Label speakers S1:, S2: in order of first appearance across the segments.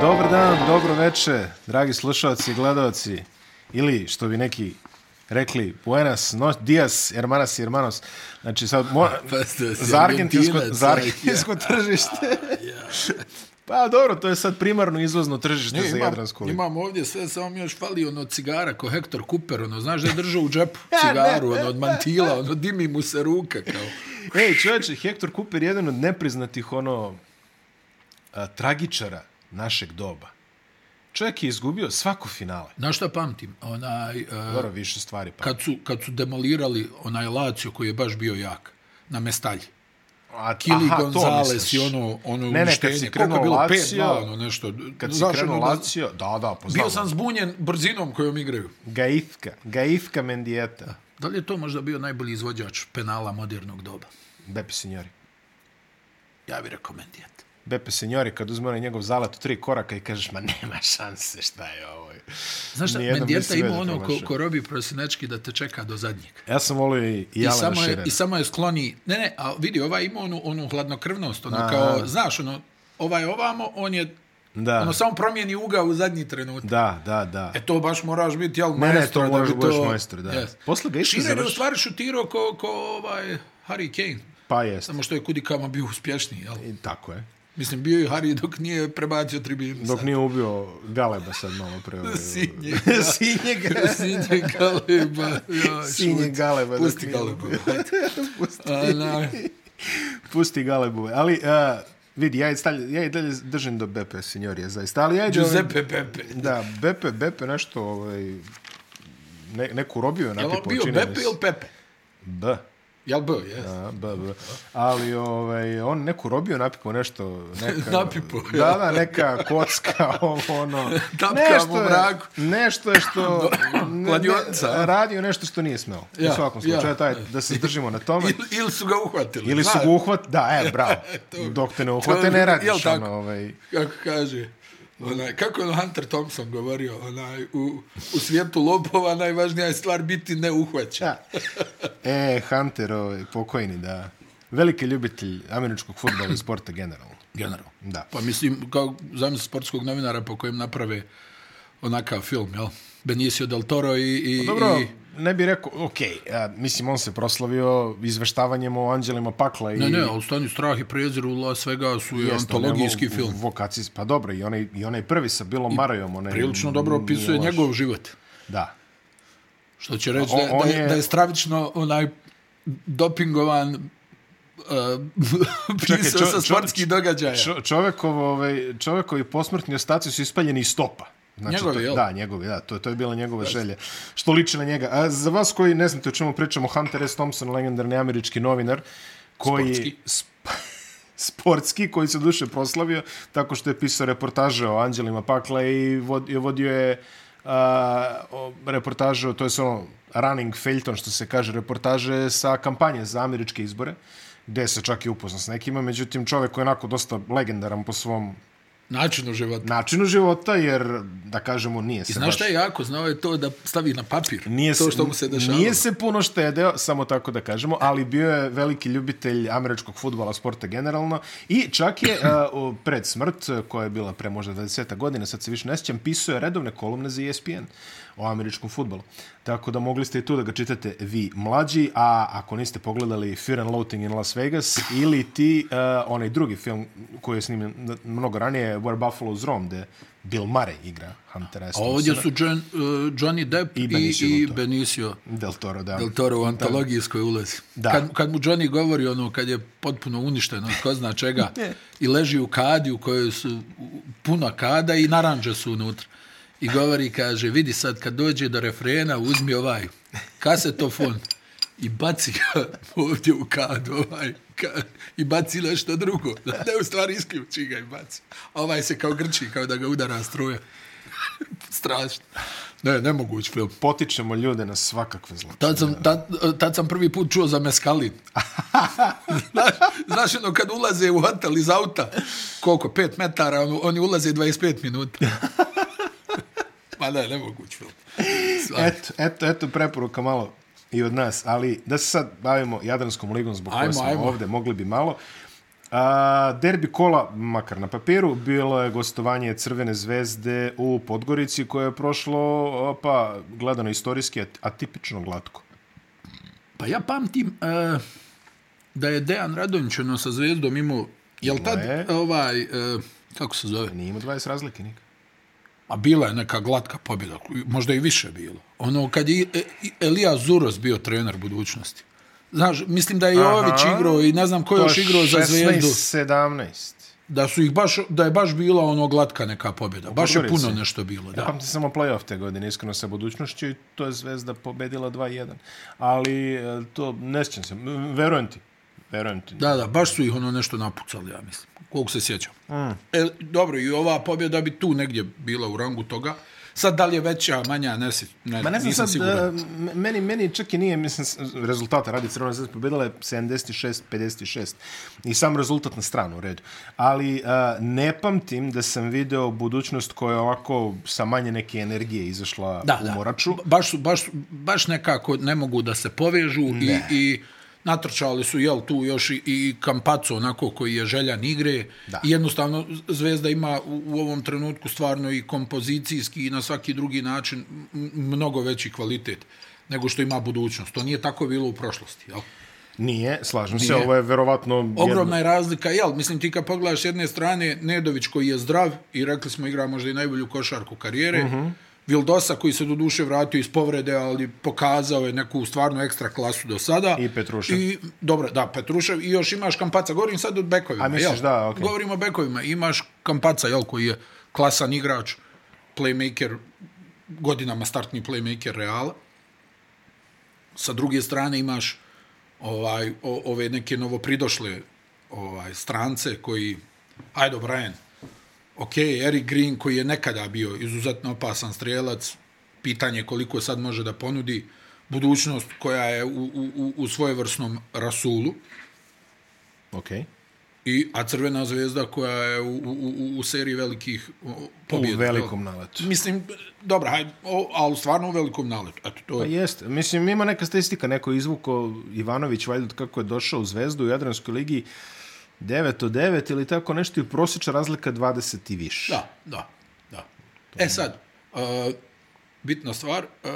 S1: Dobar dan, dobro veče, dragi slušalci i gledalci, ili što bi neki rekli, buenas, no, dias, hermanas i hermanos. Znači sad, mo,
S2: Pa ste si
S1: za argentinsko,
S2: Argentinac,
S1: za
S2: ajde.
S1: argentinsko tržište. Pa dobro, to je sad primarno izvozno tržište
S2: Ne,
S1: za
S2: imam,
S1: Jadransku ligu.
S2: imam ovdje sve, samo mi još fali ono cigara ko Hector Cooper, ono, znaš da je držao u džepu cigaru, ono, od mantila, ono, dimi mu se ruka, kao.
S1: Ej, čovječe, Hector Cooper je jedan od nepriznatih ono a, tragičara našeg doba. Čovjek je izgubio svako finale.
S2: Na šta pamtim, onaj, uh,
S1: Dobro, više stvari pa.
S2: kad, su, kad su demolirali onaj Lazio koji je baš bio jak, na mestalji.
S1: A,
S2: Kili
S1: aha, to
S2: Gonzales
S1: misliš.
S2: i ono, ono
S1: Ne, ne, kad si
S2: uništenje. Koliko
S1: krenuo
S2: je bilo?
S1: Lazio,
S2: 5-2, ono nešto.
S1: Kad si
S2: Znaš,
S1: krenuo
S2: ono,
S1: Lazio, da, da, poznamo.
S2: Bio sam zbunjen brzinom kojom igraju.
S1: Gaifka, Gaifka Mendijeta.
S2: Da li je to možda bio najbolji izvođač penala modernog doba?
S1: Bepe Signori.
S2: Ja bih rekao Mendijet.
S1: Bepe Signori, kad uzme onaj njegov zalet u tri koraka i kažeš, ma nema šanse, šta je ovo?
S2: Znaš šta,
S1: Nijednom
S2: Mendijeta
S1: nisi
S2: ima
S1: vezu
S2: ono ko,
S1: promašio.
S2: ko robi prosinečki da te čeka do zadnjeg.
S1: Ja sam volio i
S2: I
S1: Jelena
S2: samo, je,
S1: Širena.
S2: I samo je skloni... Ne, ne, a vidi, ovaj ima onu, onu hladnokrvnost. Ono kao, znaš, ono, ovaj ovamo, on je...
S1: Da,
S2: Ono samo promijeni uga u zadnji trenutak.
S1: da, da, da.
S2: E to baš moraš biti, jel,
S1: ne,
S2: maestro.
S1: to
S2: da
S1: moraš
S2: bi
S1: budeš maestro, da. Posle ga išli
S2: Širer je
S1: završi-
S2: u stvari šutirao ko, ko ovaj Harry Kane.
S1: Pa jest.
S2: Samo što je kudikama bio uspješniji, jel?
S1: I tako je.
S2: Mislim, bio je Harry dok nije prebacio tribinu.
S1: Dok nije ubio Galeba sad malo pre. ovaj-
S2: Sinjega.
S1: Sinjega.
S2: Sinje galeba. joj,
S1: Sinje
S2: šuti.
S1: galeba, dok
S2: Pusti
S1: nije
S2: galeba.
S1: ubio. Pusti.
S2: Ana,
S1: Pusti Galebove. Ali, uh, vidi, ja i, stalje, ja i dalje držim do Bepe Signori, zaista. Ali ja i
S2: Giuseppe Pepe.
S1: Da, Bepe, Bepe nešto, ovaj, ne, neku robio je
S2: Jel
S1: natipao.
S2: on bio
S1: čini mi
S2: Bepe
S1: se.
S2: ili Pepe?
S1: B.
S2: Jel bio, jes?
S1: A, B, B. Ali ovaj, on neku robio napipo nešto. Neka,
S2: Napipo,
S1: Da,
S2: ja.
S1: da, neka kocka, ovo, ono.
S2: Tapkamo u mraku.
S1: Nešto je što... ne-
S2: Kladionica, a?
S1: ne, radio nešto što nije smelo.
S2: Ja,
S1: u svakom slučaju,
S2: ja.
S1: taj, da se držimo na tome.
S2: Ili- Ili su ga uhvatili.
S1: Ili su
S2: znaš,
S1: ga uhvat... Da, e, bravo. Dok te ne uhvate, ne
S2: Jel
S1: radiš.
S2: tako?
S1: Ono, ovaj,
S2: Kako kaže, onaj, kako je Hunter Thompson govorio, onaj, u, u svijetu lopova najvažnija je stvar biti neuhvaćen.
S1: Da. E, Hunter, ovaj, pokojni, da. Veliki ljubitelj američkog futbola i sporta generalno.
S2: Generalno.
S1: Da.
S2: Pa mislim, kao zamisli sportskog novinara po kojem naprave onakav film, jel? Benicio del Toro i... i
S1: Pa Dobro,
S2: I,
S1: ne bih rekao, ok, a, mislim, on se proslavio izveštavanjem o Anđelima Pakla i...
S2: ne, ne, ali stani strah i prezir u Las Vegasu je
S1: Jeste,
S2: antologijski
S1: ono,
S2: film.
S1: Vokacijs, pa dobro, i onaj, i onaj prvi sa Bilom Marajom. Onaj,
S2: Prilično dobro
S1: nije
S2: opisuje
S1: loš.
S2: njegov život.
S1: Da.
S2: Što će reći
S1: O-
S2: da, je-
S1: on
S2: da, je,
S1: je-
S2: da je stravično onaj dopingovan uh,
S1: Čekaj,
S2: pisao
S1: čo-
S2: sa
S1: čo-
S2: sportskih događaja.
S1: Čo, čovekov, ovaj, čovekovi posmrtni ostaci su ispaljeni iz stopa. Znači,
S2: Njegovi,
S1: to,
S2: jel?
S1: Da, njegovi, da. To, je- to je bila njegova želja. Što liči na njega. A za vas koji ne znate o čemu pričamo, Hunter S. Thompson, legendarni američki novinar, koji...
S2: Sportski.
S1: Sp sportski, koji se duše proslavio tako što je pisao reportaže o Anđelima Pakla i vod- i vodio je a, o- reportaže, o- to je ono running Felton, što se kaže, reportaže sa kampanje za američke izbore, gde se čak i upoznao s nekima, međutim čovjek koji je onako dosta legendaran po svom
S2: Načinu života.
S1: načinu života, jer da kažemo nije se
S2: Znaš
S1: baš...
S2: šta je jako? Znao je to da stavi na papir
S1: Nije
S2: to što mu se dešava.
S1: Nije se puno štedeo, samo tako da kažemo, ali bio je veliki ljubitelj američkog futbala, sporta generalno i čak je a, o, pred smrt, eh, koja je bila pre možda 20 godina, sad se više ne sjećam, pisao je redovne kolumne za E ESPN o američkom futbalu. Tako da mogli ste i tu da ga čitate vi mlađi, a ako niste pogledali Fear and Loathing in Las Vegas ili ti a, onaj drugi film koji je snimljen n- mnogo ranije, Where Buffalo's Roam, gde Bill Murray igra Huntera S.
S2: A ovdje
S1: Thompsona.
S2: su John, uh, Johnny Depp i,
S1: Benicio
S2: i,
S1: del
S2: i
S1: Toro.
S2: Benicio
S1: Del Toro, da.
S2: del Toro u antologijskoj ulazi.
S1: Da.
S2: Kad, kad mu Johnny govori ono, kad je potpuno uništen od ko zna čega i leži u kadi u kojoj su u- puna kada i naranđe su unutra. I govori, kaže, vidi sad kad dođe do refrena, uzmi ovaj kasetofon i baci ga ovdje u kadu ovaj, ka, i baci nešto drugo. Ne, u stvari isključi ga i baci. A Ovaj se kao grči, kao da ga udara struja. Strašno. Ne, nemoguć film.
S1: potičemo ljude na svakakve zločine.
S2: Tad sam, tad, tad sam prvi put čuo za meskalin. znaš, znaš, ono, kad ulaze u hotel iz auta, koliko, pet metara, ono, oni ulaze 25 minuta. Pa Ma ne, nemoguć film. Sva-
S1: Eto, eto, eto preporuka malo i od nas, ali da se sad bavimo Jadranskom ligom zbog koje
S2: Ajmo,
S1: smo
S2: ajmo.
S1: ovde, mogli bi malo. Uh, A, derbi kola, makar na papiru, bilo je gostovanje Crvene zvezde u Podgorici koje je prošlo, pa gledano istorijski, atipično glatko.
S2: Pa ja pamtim uh, da je Dejan Radonjić ono, sa zvezdom imao, jel tad,
S1: Ne.
S2: ovaj, uh, kako se zove?
S1: Nije imao 20 razlike nikad.
S2: A bila je neka glatka pobjeda, možda i više bilo. Ono, kad je e, i Elija Zuros bio trener budućnosti. Znaš, mislim da je Jović
S1: Aha.
S2: igrao i ne znam ko je još igrao
S1: Pa
S2: za zvezdu.
S1: 17.
S2: Da su ih baš, da je baš bila ono glatka neka pobjeda. Baš je
S1: Podgorici.
S2: puno nešto bilo,
S1: Ja
S2: da.
S1: pamtim samo playoff te godine, iskreno sa budućnošću i to je Zvezda pobedila 2-1. Ali e, to ne sjećam se. M, Verujem ti. Verujem ti.
S2: Da, da, baš su ih ono nešto napucali, ja mislim. Koliko se sjećam. Mm. E, dobro, i ova pobjeda bi tu negdje bila u rangu toga. Sad, da li je veća, manja, ne, si, ne,
S1: Ma ne znam
S2: nisam
S1: sad,
S2: siguran.
S1: e, m- meni, meni čak i nije, mislim, s- rezultata radi Crvena zvezda pobedila je 76-56 i sam rezultat na stranu u redu. Ali uh, ne pamtim da sam video budućnost koja je ovako sa manje neke energije izašla
S2: da,
S1: u
S2: da.
S1: moraču.
S2: Ba- Baš, su, baš, su- baš nekako ne mogu da se povežu i, i natrčali su, jel, tu još i, i Kampaco, onako, koji je željan igre.
S1: Da.
S2: I jednostavno, Zvezda ima u, u ovom trenutku stvarno i kompozicijski i na svaki drugi način m- mnogo veći kvalitet nego što ima budućnost. To nije tako bilo u prošlosti, jel?
S1: Nije, slažem se,
S2: Nije.
S1: ovo je verovatno... jedno-
S2: Ogromna je razlika, jel? Mislim, ti kad pogledaš s jedne strane Nedović koji je zdrav i rekli smo igra možda i najbolju košarku karijere, uh
S1: Mhm.
S2: -huh. Vildosa koji se do duše vratio iz povrede, ali pokazao je neku stvarno ekstra klasu do sada.
S1: I Petrušev.
S2: I, dobro, da, Petrušev. I još imaš Kampaca, govorim sad o bekovima.
S1: A misliš,
S2: jel?
S1: da, okej.
S2: Govorim o bekovima. Imaš Kampaca, jel, koji je klasan igrač, playmaker, godinama startni playmaker Reala. Sa druge strane imaš ovaj o, ove neke novopridošle ovaj strance koji ajde Brian. Ok, Eric Green koji je nekada bio izuzetno opasan strelac, pitanje koliko sad može da ponudi budućnost koja je u, u, u- u svojevrsnom rasulu
S1: Okej.
S2: i a Crvena zvezda koja je u, u, u- u seriji velikih o, pobjeda.
S1: U velikom naletu.
S2: Mislim, dobra, hajde, o, ali stvarno u velikom naletu. Eto, to
S1: Pa
S2: je.
S1: jeste. Mislim, ima neka statistika, neko je izvuko Ivanović, valjda od kako je došao u Zvezdu u Jadranskoj ligi, 9 od 9 ili tako nešto i prosječa razlika 20 i više.
S2: Da, da, da. E sad, uh, bitna stvar, uh,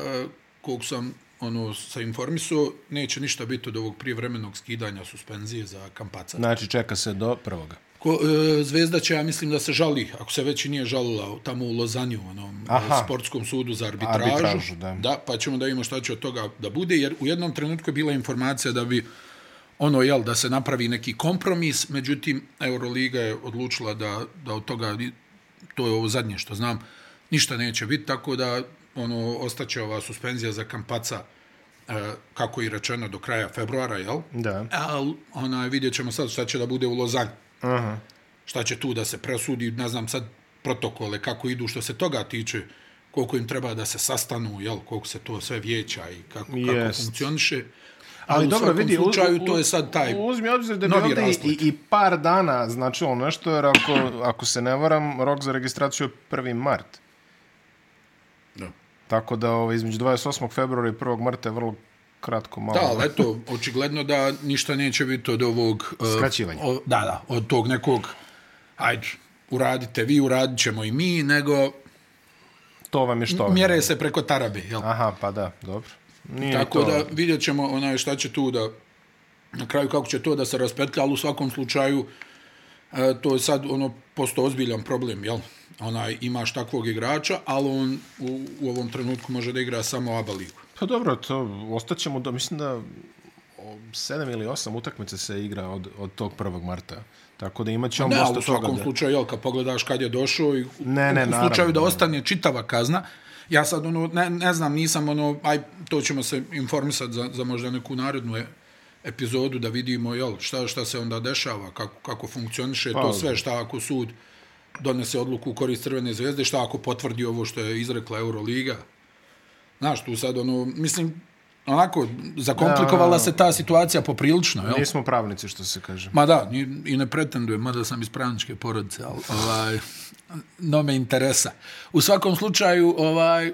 S2: koliko sam ono, sa informiso, neće ništa biti od ovog prijevremenog skidanja suspenzije za Kampaca.
S1: Znači, čeka se do prvoga.
S2: Ko, e, Zvezda će, ja mislim, da se žali, ako se već i nije žalila tamo u Lozanju, onom
S1: Aha.
S2: Aha. sportskom sudu za arbitražu.
S1: Arbitražu, da.
S2: da. pa ćemo da vidimo šta će od toga da bude, jer u jednom trenutku je bila informacija da bi ono, jel, da se napravi neki kompromis, međutim, Euroliga je odlučila da, da od toga, to je ovo zadnje što znam, ništa neće biti, tako da, ono, ostaće ova suspenzija za kampaca, e, kako je i rečeno, do kraja februara, jel?
S1: Da.
S2: Ali, onaj, ono, vidjet ćemo sad šta će da bude u Lozanji. Aha. Šta će tu da se presudi, ne znam sad protokole, kako idu, što se toga tiče, koliko im treba da se sastanu, jel, koliko se to sve vijeća i kako, kako
S1: Jest.
S2: funkcioniše. Ali,
S1: Ali
S2: u
S1: dobro,
S2: svakom
S1: vidi, u-
S2: slučaju
S1: u-
S2: to je sad taj...
S1: Uzmi obzir da bi
S2: novi
S1: ovdje i,
S2: rasplet.
S1: i par dana značilo nešto, jer ako, ako se ne varam, rok za registraciju je 1. mart.
S2: Da.
S1: Tako da ovaj, između 28. februara i 1. marta je vrlo kratko malo.
S2: Da, ali eto, očigledno da ništa neće biti od ovog... e,
S1: Skraćivanja.
S2: O, da, da, od tog nekog, ajde, uradite vi, uradit ćemo i mi, nego
S1: To vam je što? vam je.
S2: mjere se preko tarabe, jel?
S1: Aha, pa da, dobro. Nije ni
S2: Tako
S1: to...
S2: da vidjet ćemo onaj šta će tu da na kraju kako će to da se raspetlja, ali u svakom slučaju e, to je sad ono posto ozbiljan problem, jel? Onaj imaš takvog igrača, ali on u, u ovom trenutku može da igra samo ABA ligu.
S1: Pa dobro, to ostaćemo do, mislim da o, sedam ili osam utakmica se igra od, od tog 1. marta. Tako da imat ćemo
S2: Ne, ali
S1: dosta
S2: u
S1: toga.
S2: svakom
S1: da-
S2: slučaju, jel, kad pogledaš kad je došao i u-
S1: Ne, ne,
S2: u
S1: naravno,
S2: slučaju da
S1: ne.
S2: ostane čitava kazna, ja sad ono, ne, ne znam, nisam ono, aj, to ćemo se informisati za, za možda neku narednu e, epizodu da vidimo, jel, šta, šta se onda dešava, kako, kako funkcioniše
S1: Pa,
S2: to sve, šta ako sud donese odluku u korist Crvene zvezde, šta ako potvrdi ovo što je izrekla Euroliga. Znaš, tu sad ono, mislim, onako, zakomplikovala se ta situacija poprilično, jel?
S1: Nismo pravnici, što se kaže.
S2: Ma da, ni, i ne pretendujem, mada sam iz pravničke porodice, ali ovaj, no me interesa. U svakom slučaju, ovaj,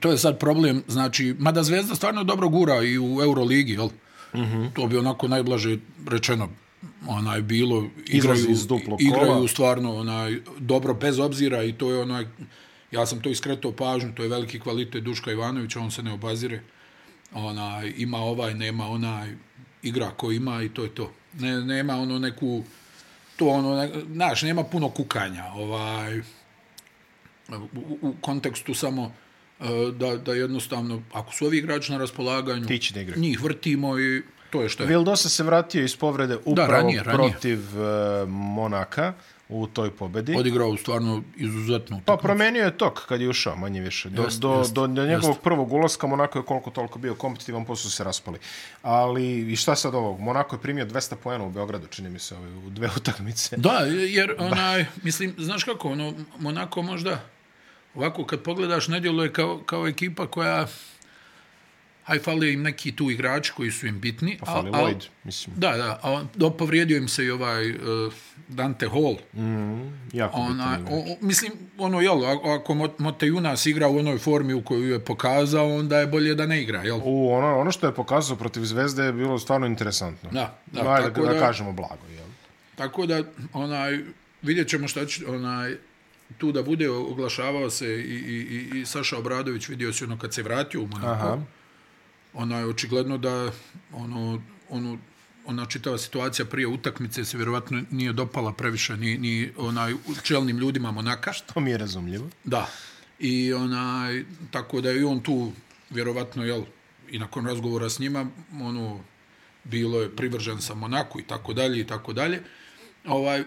S2: to je sad problem, znači, mada
S1: Mhm.
S2: Zvezda stvarno dobro gura i u Euroligi, jel? Mm -hmm. To bi onako najblaže rečeno onaj bilo
S1: Izlazi
S2: igraju
S1: iz duplog kola.
S2: igraju stvarno onaj dobro bez obzira i to je onaj ja sam to iskretao pažnju, to je veliki kvalitet Duška Ivanovića, on se ne obazire. Onaj ima ovaj, nema onaj igra ko ima i to je to. Ne, nema ono neku to ono ne, znaš, nema puno kukanja, ovaj u, u kontekstu samo e, da, da jednostavno ako su ovi igrači na raspolaganju
S1: Ti će da igraju.
S2: njih vrtimo i to je što je.
S1: Vildosa se vratio iz povrede upravo
S2: ranije, ranije.
S1: protiv eh, Monaka u toj pobedi.
S2: odigrao stvarno izuzetno.
S1: Pa promenio je tok kad je ušao, manje više. Do,
S2: Jest,
S1: do,
S2: jest,
S1: do, do njegovog prvog ulaska Monako je koliko toliko bio kompetitivan, posle su se raspali. Ali, i šta sad ovog? Monako je primio 200 pojena u Beogradu, čini mi se, ovaj, u dve utakmice.
S2: Da, jer onaj, mislim, znaš kako, ono, Monako možda, ovako kad pogledaš, ne djeluje kao, kao ekipa koja, aj fali im neki tu igrači koji su im bitni. Pa
S1: Ali Lloyd, mislim,
S2: Da, da, a on- do, povrijedio im se i ovaj uh, Dante Hall.
S1: jako bitan
S2: Ona,
S1: Mm, igrač.
S2: o, o, mislim, ono, jel, a- ako Mo- Motejunas igra u onoj formi u koju je pokazao, onda je bolje da ne igra, jel?
S1: U, ono, ono što je pokazao protiv Zvezde je bilo stvarno interesantno.
S2: Da, da,
S1: Ajde,
S2: tako
S1: da,
S2: da-
S1: kažemo blago, jel?
S2: Tako da, onaj, vidjet ćemo šta će, onaj, tu da bude, oglašavao se i, i, i, i Saša Obradović, vidio se ono kad se vratio u Monako, onaj, očigledno da, ono, ono, ona čitava situacija prije utakmice se vjerovatno nije dopala previše ni, ni onaj čelnim ljudima Monaka.
S1: To mi je razumljivo.
S2: Da. I onaj, tako da je i on tu, vjerovatno, jel, i nakon razgovora s njima, ono, bilo je privržen sa Monaku i tako dalje i tako dalje. Ovaj,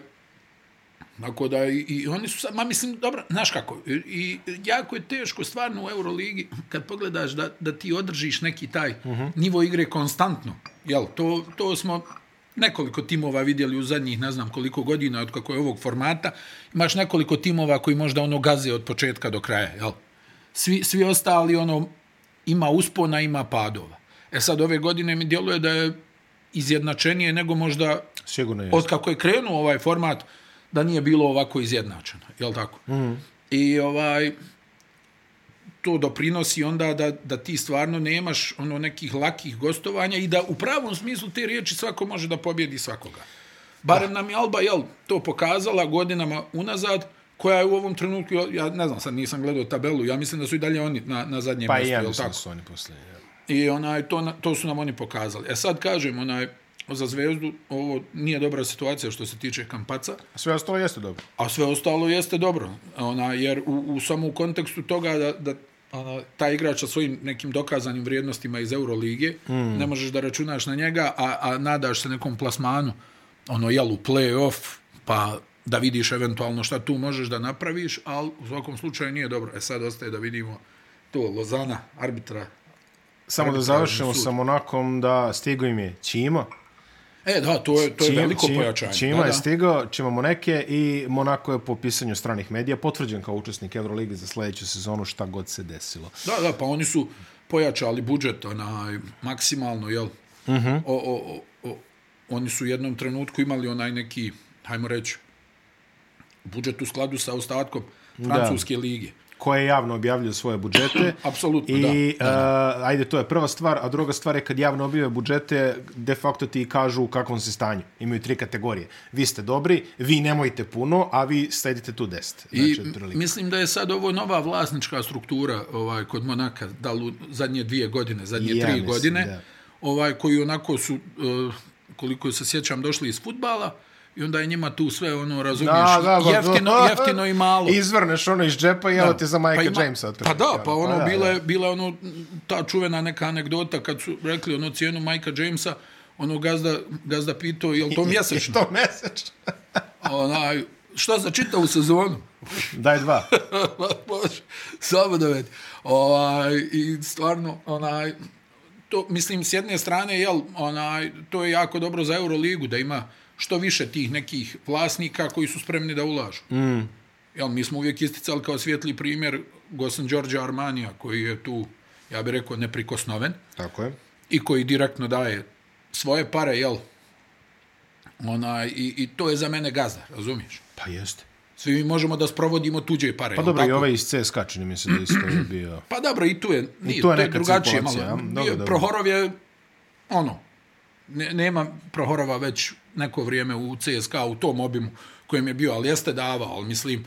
S2: tako da i, i oni su sad, ma mislim, dobro, znaš kako, i, i jako je teško stvarno u Euroligi kad pogledaš da, da ti održiš neki taj nivo igre konstantno. Jel, to, to smo nekoliko timova vidjeli u zadnjih ne znam koliko godina od kako je ovog formata. Imaš nekoliko timova koji možda ono gaze od početka do kraja, jel? Svi, svi ostali ono ima uspona, ima padova. E sad ove godine mi djeluje da je izjednačenije nego možda
S1: Sigurno je.
S2: od kako je krenuo ovaj format da nije bilo ovako izjednačeno, je l' tako?
S1: Mhm.
S2: Mm. I ovaj to doprinosi onda da, da ti stvarno nemaš ono nekih lakih gostovanja i da u pravom smislu te riječi svako može da pobjedi svakoga. Barem nam je Alba jel, to pokazala godinama unazad, koja je u ovom trenutku, ja ne znam, sad nisam gledao tabelu, ja mislim da su i dalje oni na, na zadnjem
S1: Pa i
S2: mjestu,
S1: ja
S2: je l'
S1: mislim da
S2: tako?
S1: su oni posljednji. jel?
S2: I onaj, to, na- to su nam oni pokazali. E sad kažem, onaj, za Zvezdu ovo nije dobra situacija što se tiče Kampaca,
S1: A Sve ostalo jeste dobro.
S2: a sve ostalo jeste dobro. Ona, jer u, u samo u kontekstu toga da, da ona, ta igrač sa svojim nekim dokazanim vrijednostima iz Eurolige, mm. ne možeš da računaš na njega, a, a nadaš se nekom plasmanu, ono, jel, u play-off, pa da vidiš eventualno šta tu možeš da napraviš, ali u svakom slučaju nije dobro. E sad ostaje da vidimo to Lozana, arbitra.
S1: Samo da
S2: Arbitražni
S1: završimo
S2: sud.
S1: sa Monakom da stigo im je Čima.
S2: E, da, to je, to je veliko pojačanje.
S1: Čima
S2: da,
S1: je
S2: da.
S1: stigao, Čima Moneke i Monako je po pisanju stranih medija potvrđen kao učesnik Euroligi za sljedeću sezonu šta god se desilo.
S2: Da, da, pa oni su pojačali budžet onaj, maksimalno, jel? Uh
S1: Mhm.
S2: -huh. o, o, o, o, oni su u jednom trenutku imali onaj neki, hajmo reći, budžet u skladu sa ostatkom Francuske da. lige.
S1: Koje javno objavljuju svoje budžete.
S2: Apsolutno,
S1: I, da, Uh, ajde, to je prva stvar, a druga stvar je kad javno objave budžete, de facto ti kažu u kakvom se stanju. Imaju tri kategorije. Vi ste dobri, vi nemojte puno, a vi sledite tu 10.
S2: I
S1: Znači, otprilike.
S2: mislim da je sad ovo nova vlasnička struktura ovaj kod Monaka, da li u zadnje dvije godine, zadnje
S1: Ja
S2: tri
S1: mislim,
S2: godine,
S1: da.
S2: ovaj koji onako su, eh, koliko se sjećam, došli iz futbala, I onda je njima tu sve ono, razumiješ,
S1: ba-
S2: jeftino, jeftino i malo.
S1: pa Izvrneš ono iz džepa i evo ti za Majka
S2: ima-
S1: Jamesa.
S2: Pa
S1: otprilike,
S2: da, pa ono,
S1: da,
S2: bila,
S1: da.
S2: je, bila je ono, ta čuvena neka anegdota kad su rekli ono cijenu Majka Jamesa, ono gazda, gazda pitao, je li to
S1: I
S2: mjesečno?
S1: to mesečno.
S2: Onaj, šta za čitavu sezonu?
S1: Daj dva.
S2: Može, samo da vedi. Ovaj, I stvarno, onaj, to, mislim, s jedne strane, jel, onaj, to je jako dobro za Euroligu, da ima što više tih nekih vlasnika koji su spremni da ulažu. Mm. Jel, mi smo uvijek isticali kao svijetli primjer Gosan Đorđa Armanija, koji je tu, ja bih rekao, neprikosnoven
S1: Tako je.
S2: i koji direktno daje svoje pare, jel, onaj, i, i to je za mene gazda, razumiješ?
S1: Pa jeste.
S2: Svi mi možemo da sprovodimo tuđe pare.
S1: Pa dobro, i ovaj iz CSKA čini mi se da isto je bio.
S2: Pa dobro, i tu je, nije,
S1: tu je
S2: to je, to je
S1: neka
S2: drugačije
S1: cirkulacija,
S2: malo.
S1: a? Dobro,
S2: Bio-
S1: dobro.
S2: Prohorov je, ono, ne, nema Prohorova već neko vrijeme u CSKA u tom obimu kojem je bio, ali jeste davao, ali mislim,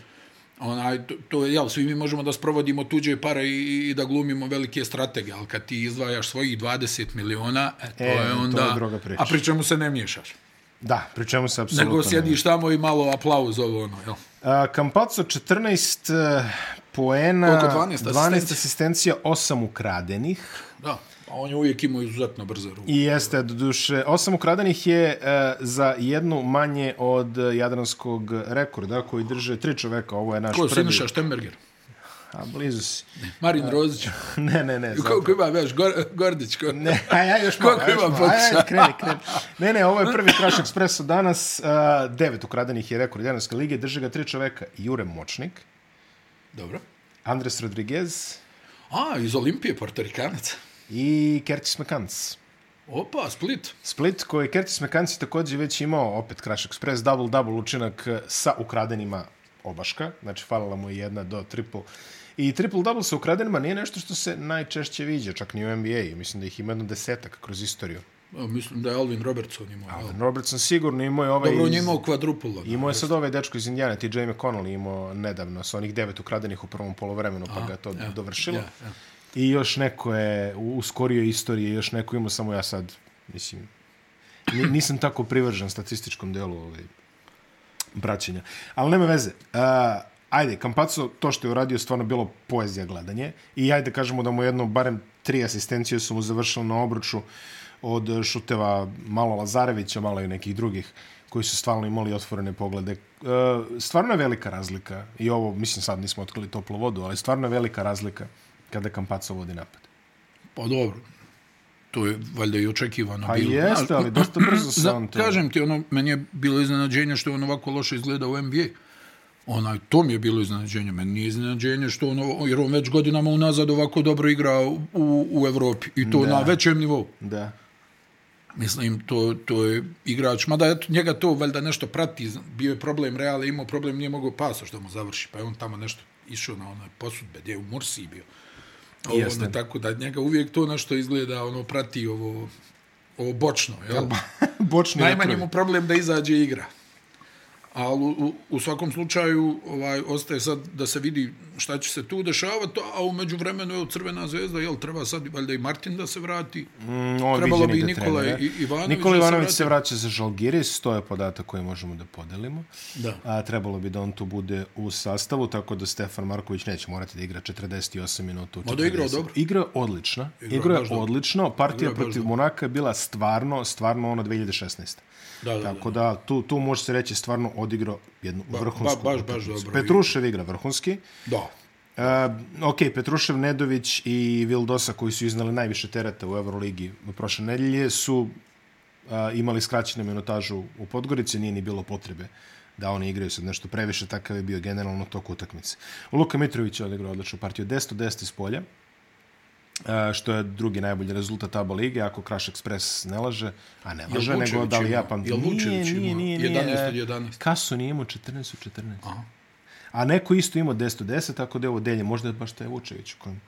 S2: onaj, to, to je, jel, svi mi možemo da sprovodimo tuđe pare i, i da glumimo velike stratege, ali kad ti izdvajaš svojih 20 miliona, e, to
S1: E,
S2: je
S1: to je
S2: onda,
S1: druga priča.
S2: a pri čemu se ne miješaš.
S1: Da, pri čemu se apsolutno...
S2: Nego
S1: ne-
S2: sjediš tamo i malo aplauz ovo ono, jel?
S1: A, Campazzo 14 eh, poena,
S2: Koliko? 12
S1: 12
S2: asistencija?
S1: asistencija, 8 ukradenih.
S2: Da, a on je uvijek imao izuzetno brze ruke.
S1: I jeste, doduše, osam ukradenih je e, za jednu manje od e, jadranskog rekorda koji drže tri čoveka, ovo je naš
S2: Ko,
S1: prvi.
S2: Siniša Štemberger?
S1: A blizu si.
S2: Marin Rozić?
S1: Ne, ne, ne. zato.
S2: Ko, ko ima veš? Gor, Gordić? Ko?
S1: Ne, a ja još malo.
S2: Koliko
S1: ja još
S2: ima
S1: malo.
S2: pokušaja?
S1: Ajde, kreni, kreni. Ne, ne, ovo je prvi Crash Expresso danas. E, devet ukradenih je rekord Jadranske lige. Drže ga tri čoveka. Jure Močnik,
S2: Dobro.
S1: Andres Rodriguez
S2: A, iz Olimpije, Portorikanac.
S1: i Kertis Mekans.
S2: Opa, Split.
S1: Split koji je Kertis Mekanci također već imao opet Crash Express double-double učinak eh, sa ukradenima obaška, znači falila mu je jedna do triple. I triple-double sa ukradenima nije nešto što se najčešće viđa, čak ni u NBA-u. Mislim da ih ima jedno desetak kroz istoriju.
S2: A, Mislim da je Alvin Robertson imao. jel?
S1: Robertson sigurno imao je ovaj...
S2: Dobro, on je
S1: iz-
S2: imao kvadrupulo. da.
S1: Imao je sad ovaj dečko iz Indijana, ti Jamie Connolly imao nedavno sa onih devet ukradenih u prvom polovremenu, pa ga to dovršilo.
S2: ja, ja.
S1: I još neko je u, u skorijoj istoriji, još neko imao, samo ja sad, mislim, ni- nisam tako privržen statističkom delu ovaj, braćenja. Ali nema veze. Uh, ajde, Kampaco, to što je uradio je stvarno bilo poezija gledanje. I ajde kažemo da mu jedno, barem tri asistencije su mu završile na obruču od eh, šuteva malo Lazarevića, malo i nekih drugih koji su stvarno imali otvorene poglede. E, Stvarno je velika razlika i ovo, mislim sad nismo otkrili toplu vodu, ali stvarno je velika razlika kada Kampaco vodi napad.
S2: Pa dobro. To je valjda i očekivano
S1: Pa
S2: bilo.
S1: jeste, ali dosta brzo se
S2: Da,
S1: on to...
S2: kažem ti, ono, meni je bilo iznenađenje što on ovako loše izgleda u NBA. Onaj, to mi je bilo iznenađenje. Meni nije iznenađenje što ono, jer on već godinama unazad ovako dobro igra u, u Evropi. I to da. na većem nivou.
S1: Da.
S2: Mislim, to, to je igrač. Mada eto, njega to valjda nešto prati. Zna- Bio je problem Reala, imao problem, nije mogao pasa što mu završi. Pa je on tamo nešto išao na onaj posudbe, gdje je u Mursiji bio. Ovo,
S1: Jeste.
S2: Ono, tako da njega uvijek to nešto izgleda, ono, prati ovo, ovo bočno. Jel?
S1: Bočni
S2: Najmanji
S1: retrovi.
S2: mu problem da izađe igra. Ali u, u- u svakom slučaju ovaj, ostaje sad da se vidi šta će se tu dešavati, a umeđu vremenu je Crvena zvezda, jel, treba sad valjda i Martin da se vrati.
S1: Mm, on
S2: Trebalo
S1: viđeni
S2: bi
S1: da
S2: Nikola
S1: trener.
S2: I- Ivanović
S1: Nikola
S2: da se
S1: Ivanović
S2: vrati.
S1: se vraća za Žalgiris, to je podatak koji možemo da podelimo.
S2: Da.
S1: A, trebalo bi da on tu bude u sastavu, tako da Stefan Marković neće morati da igra 48 minuta. u
S2: Ma da je igrao
S1: 40.
S2: dobro.
S1: Igrao odlično.
S2: Igrao je
S1: Igrao
S2: baš
S1: je
S2: dobro.
S1: odlično. Partija
S2: Igrao je baš
S1: protiv Monaka je bila stvarno, stvarno ono 2016.
S2: Da, da, da.
S1: Tako da tu, tu može se reći stvarno odigrao jednu vrhunsku
S2: ba- baš, baš
S1: utakmicu.
S2: dobro.
S1: Petrušev igra vrhunski.
S2: Da.
S1: Uh, ok, Petrušev, Nedović i Vildosa koji su iznali najviše tereta u Euroligi prošle nedelje su uh, imali skraćenu minutažu u Podgorici, nije ni bilo potrebe da oni igraju sad nešto previše, takav je bio generalno tok utakmice. Luka Mitrović je odigrao odličnu partiju, 10-10 iz polja, uh, što je drugi najbolji rezultat ABA lige, ako Crash Express ne laže, a ne laže,
S2: Vučević
S1: nego da li ja
S2: imao?
S1: pamtim.
S2: Jel Vučević imao? 11 od 11?
S1: Kaso nije imao 14 od 14. Aha. A neko isto imao 10 od 10, tako da je ovo delje. Možda je baš taj Vučević o kojem,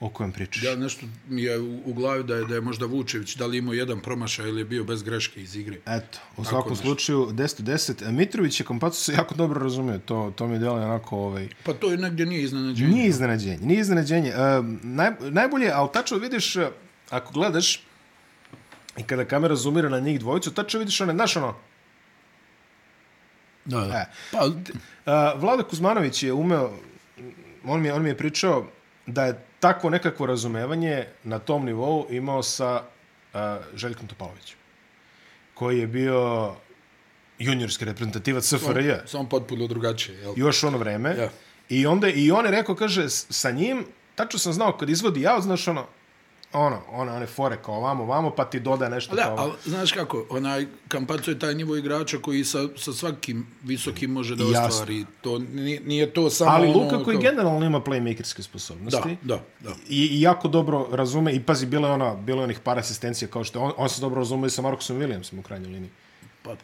S1: o kojem pričaš.
S2: Ja nešto mi je u, u glavi da je, da je možda Vučević, da li imao jedan promašaj ili je bio bez greške iz igre.
S1: Eto, u svakom slučaju 10 od 10. E, Mitrović je Kompacu se jako dobro razumio. To, to mi deluje onako ovaj,
S2: Pa to je negdje nije iznenađenje.
S1: Nije iznenađenje, nije iznenađenje. E, naj, najbolje, ali tačno vidiš, e, ako gledaš, i kada kamera zoomira na njih dvojicu, tačno vidiš one, znaš ono,
S2: Da, da.
S1: E.
S2: Pa,
S1: A, Vlada Kuzmanović je umeo, on mi, je- on mi je pričao da je takvo nekakvo razumevanje na tom nivou imao sa a, Željkom Topalovićem, koji je bio juniorski reprezentativac SFRJ,
S2: samo potpuno drugačije. Jel?
S1: još u ono vreme.
S2: Ja.
S1: I onda i on je rekao, kaže, s- sa njim, tačno sam znao, kad izvodi ja, znaš ono, ono, one, one fore kao ovamo, ovamo, pa ti doda nešto
S2: Da,
S1: kao
S2: ali znaš kako, onaj Kampaco je taj nivo igrača koji sa, sa svakim visokim može da
S1: Jasno.
S2: ostvari. To nije, nije to samo
S1: Ali
S2: ono...
S1: Luka koji
S2: kao-
S1: generalno ima playmakerske
S2: Da,
S1: sposobnosti,
S2: da, da.
S1: i, i jako dobro razume i pazi bilo je ona bilo je onih par asistencija kao što je on, on se dobro razume i sa Markusom Williamsom u krajnjoj liniji.
S2: Pa,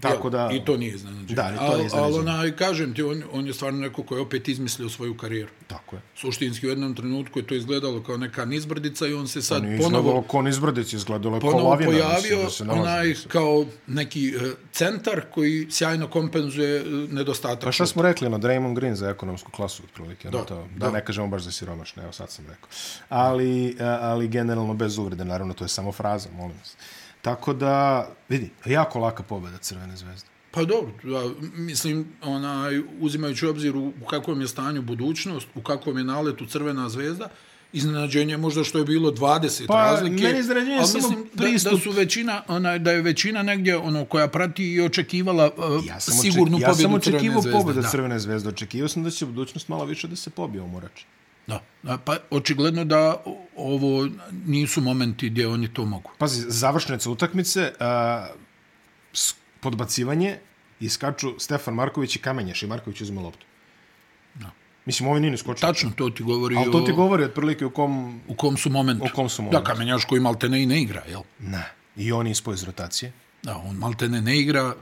S1: Tako
S2: jel,
S1: da-
S2: I to nije iznenađenje.
S1: Da, i to
S2: Al-
S1: nije iznenađenje.
S2: al onaj, kažem ti, on, on je stvarno neko koji je opet izmislio svoju karijeru.
S1: Tako je.
S2: Suštinski u jednom trenutku je to izgledalo kao neka nizbrdica i on se sad
S1: Pa Nije izgledalo
S2: ponovo,
S1: kon izbrdic, izgledalo je
S2: ponovo
S1: kolavina. mislim,
S2: pojavio
S1: da se nalazi.
S2: onaj kao neki e, centar koji sjajno kompenzuje e, nedostatak.
S1: Pa šta smo rekli, ono, Draymond Green za ekonomsku klasu, otprilike, da,
S2: Da,
S1: to, da,
S2: da.
S1: ne kažemo baš za siromašne, evo sad sam rekao. Ali, a, ali generalno bez uvrede, naravno, to je samo fraza, molim vas. Tako da, vidi, jako laka pobjeda Crvene zvezde.
S2: Pa dobro, da, mislim, onaj, uzimajući u obzir u, u kakvom je stanju budućnost, u kakvom je naletu Crvena zvezda, iznenađenje je možda što je bilo 20
S1: Pa,
S2: razlike.
S1: meni je iznenađenje
S2: ali
S1: samo
S2: mislim Da, da
S1: pristup.
S2: su većina, onaj, da je većina negdje ono koja prati i očekivala uh,
S1: Ja sam, oček,
S2: sigurnu
S1: ja sam
S2: pobjedu Crvene
S1: očekivao
S2: zvezde.
S1: pobjeda
S2: da.
S1: Crvene zvezde, očekivao sam da će budućnost malo više da se pobije u Morači.
S2: Da, da, pa očigledno da ovo nisu momenti gdje oni to mogu.
S1: Pazi, završnica utakmice, a, s- podbacivanje, iskaču Stefan Marković i Kamenjaš i Marković uzme loptu.
S2: Da.
S1: Mislim, ovi nije ni skočio.
S2: Tačno to ti govori
S1: Ali to ti
S2: o,
S1: govori otprilike u kom
S2: u kom su momentu.
S1: U kom su
S2: Da,
S1: momentu.
S2: Kamenjaš koji maltene i ne igra, jel?
S1: Ne. I on je ispao iz rotacije.
S2: Da, on maltene ne igra.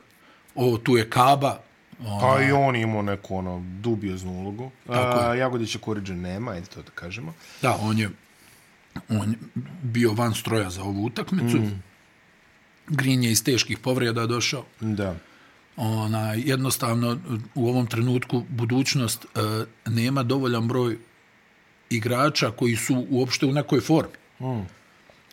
S2: O, tu je Kaba. O,
S1: Pa i on je imao neku ono, dubioznu ulogu. A, Jagodića Kuriđe nema, ajde to da kažemo.
S2: da, on je on je bio van stroja za ovu utakmicu. Mm. Green je iz teških povreda došao.
S1: Da.
S2: Ona, jednostavno, u ovom trenutku budućnost e, nema dovoljan broj igrača koji su uopšte u nekoj formi. Mm.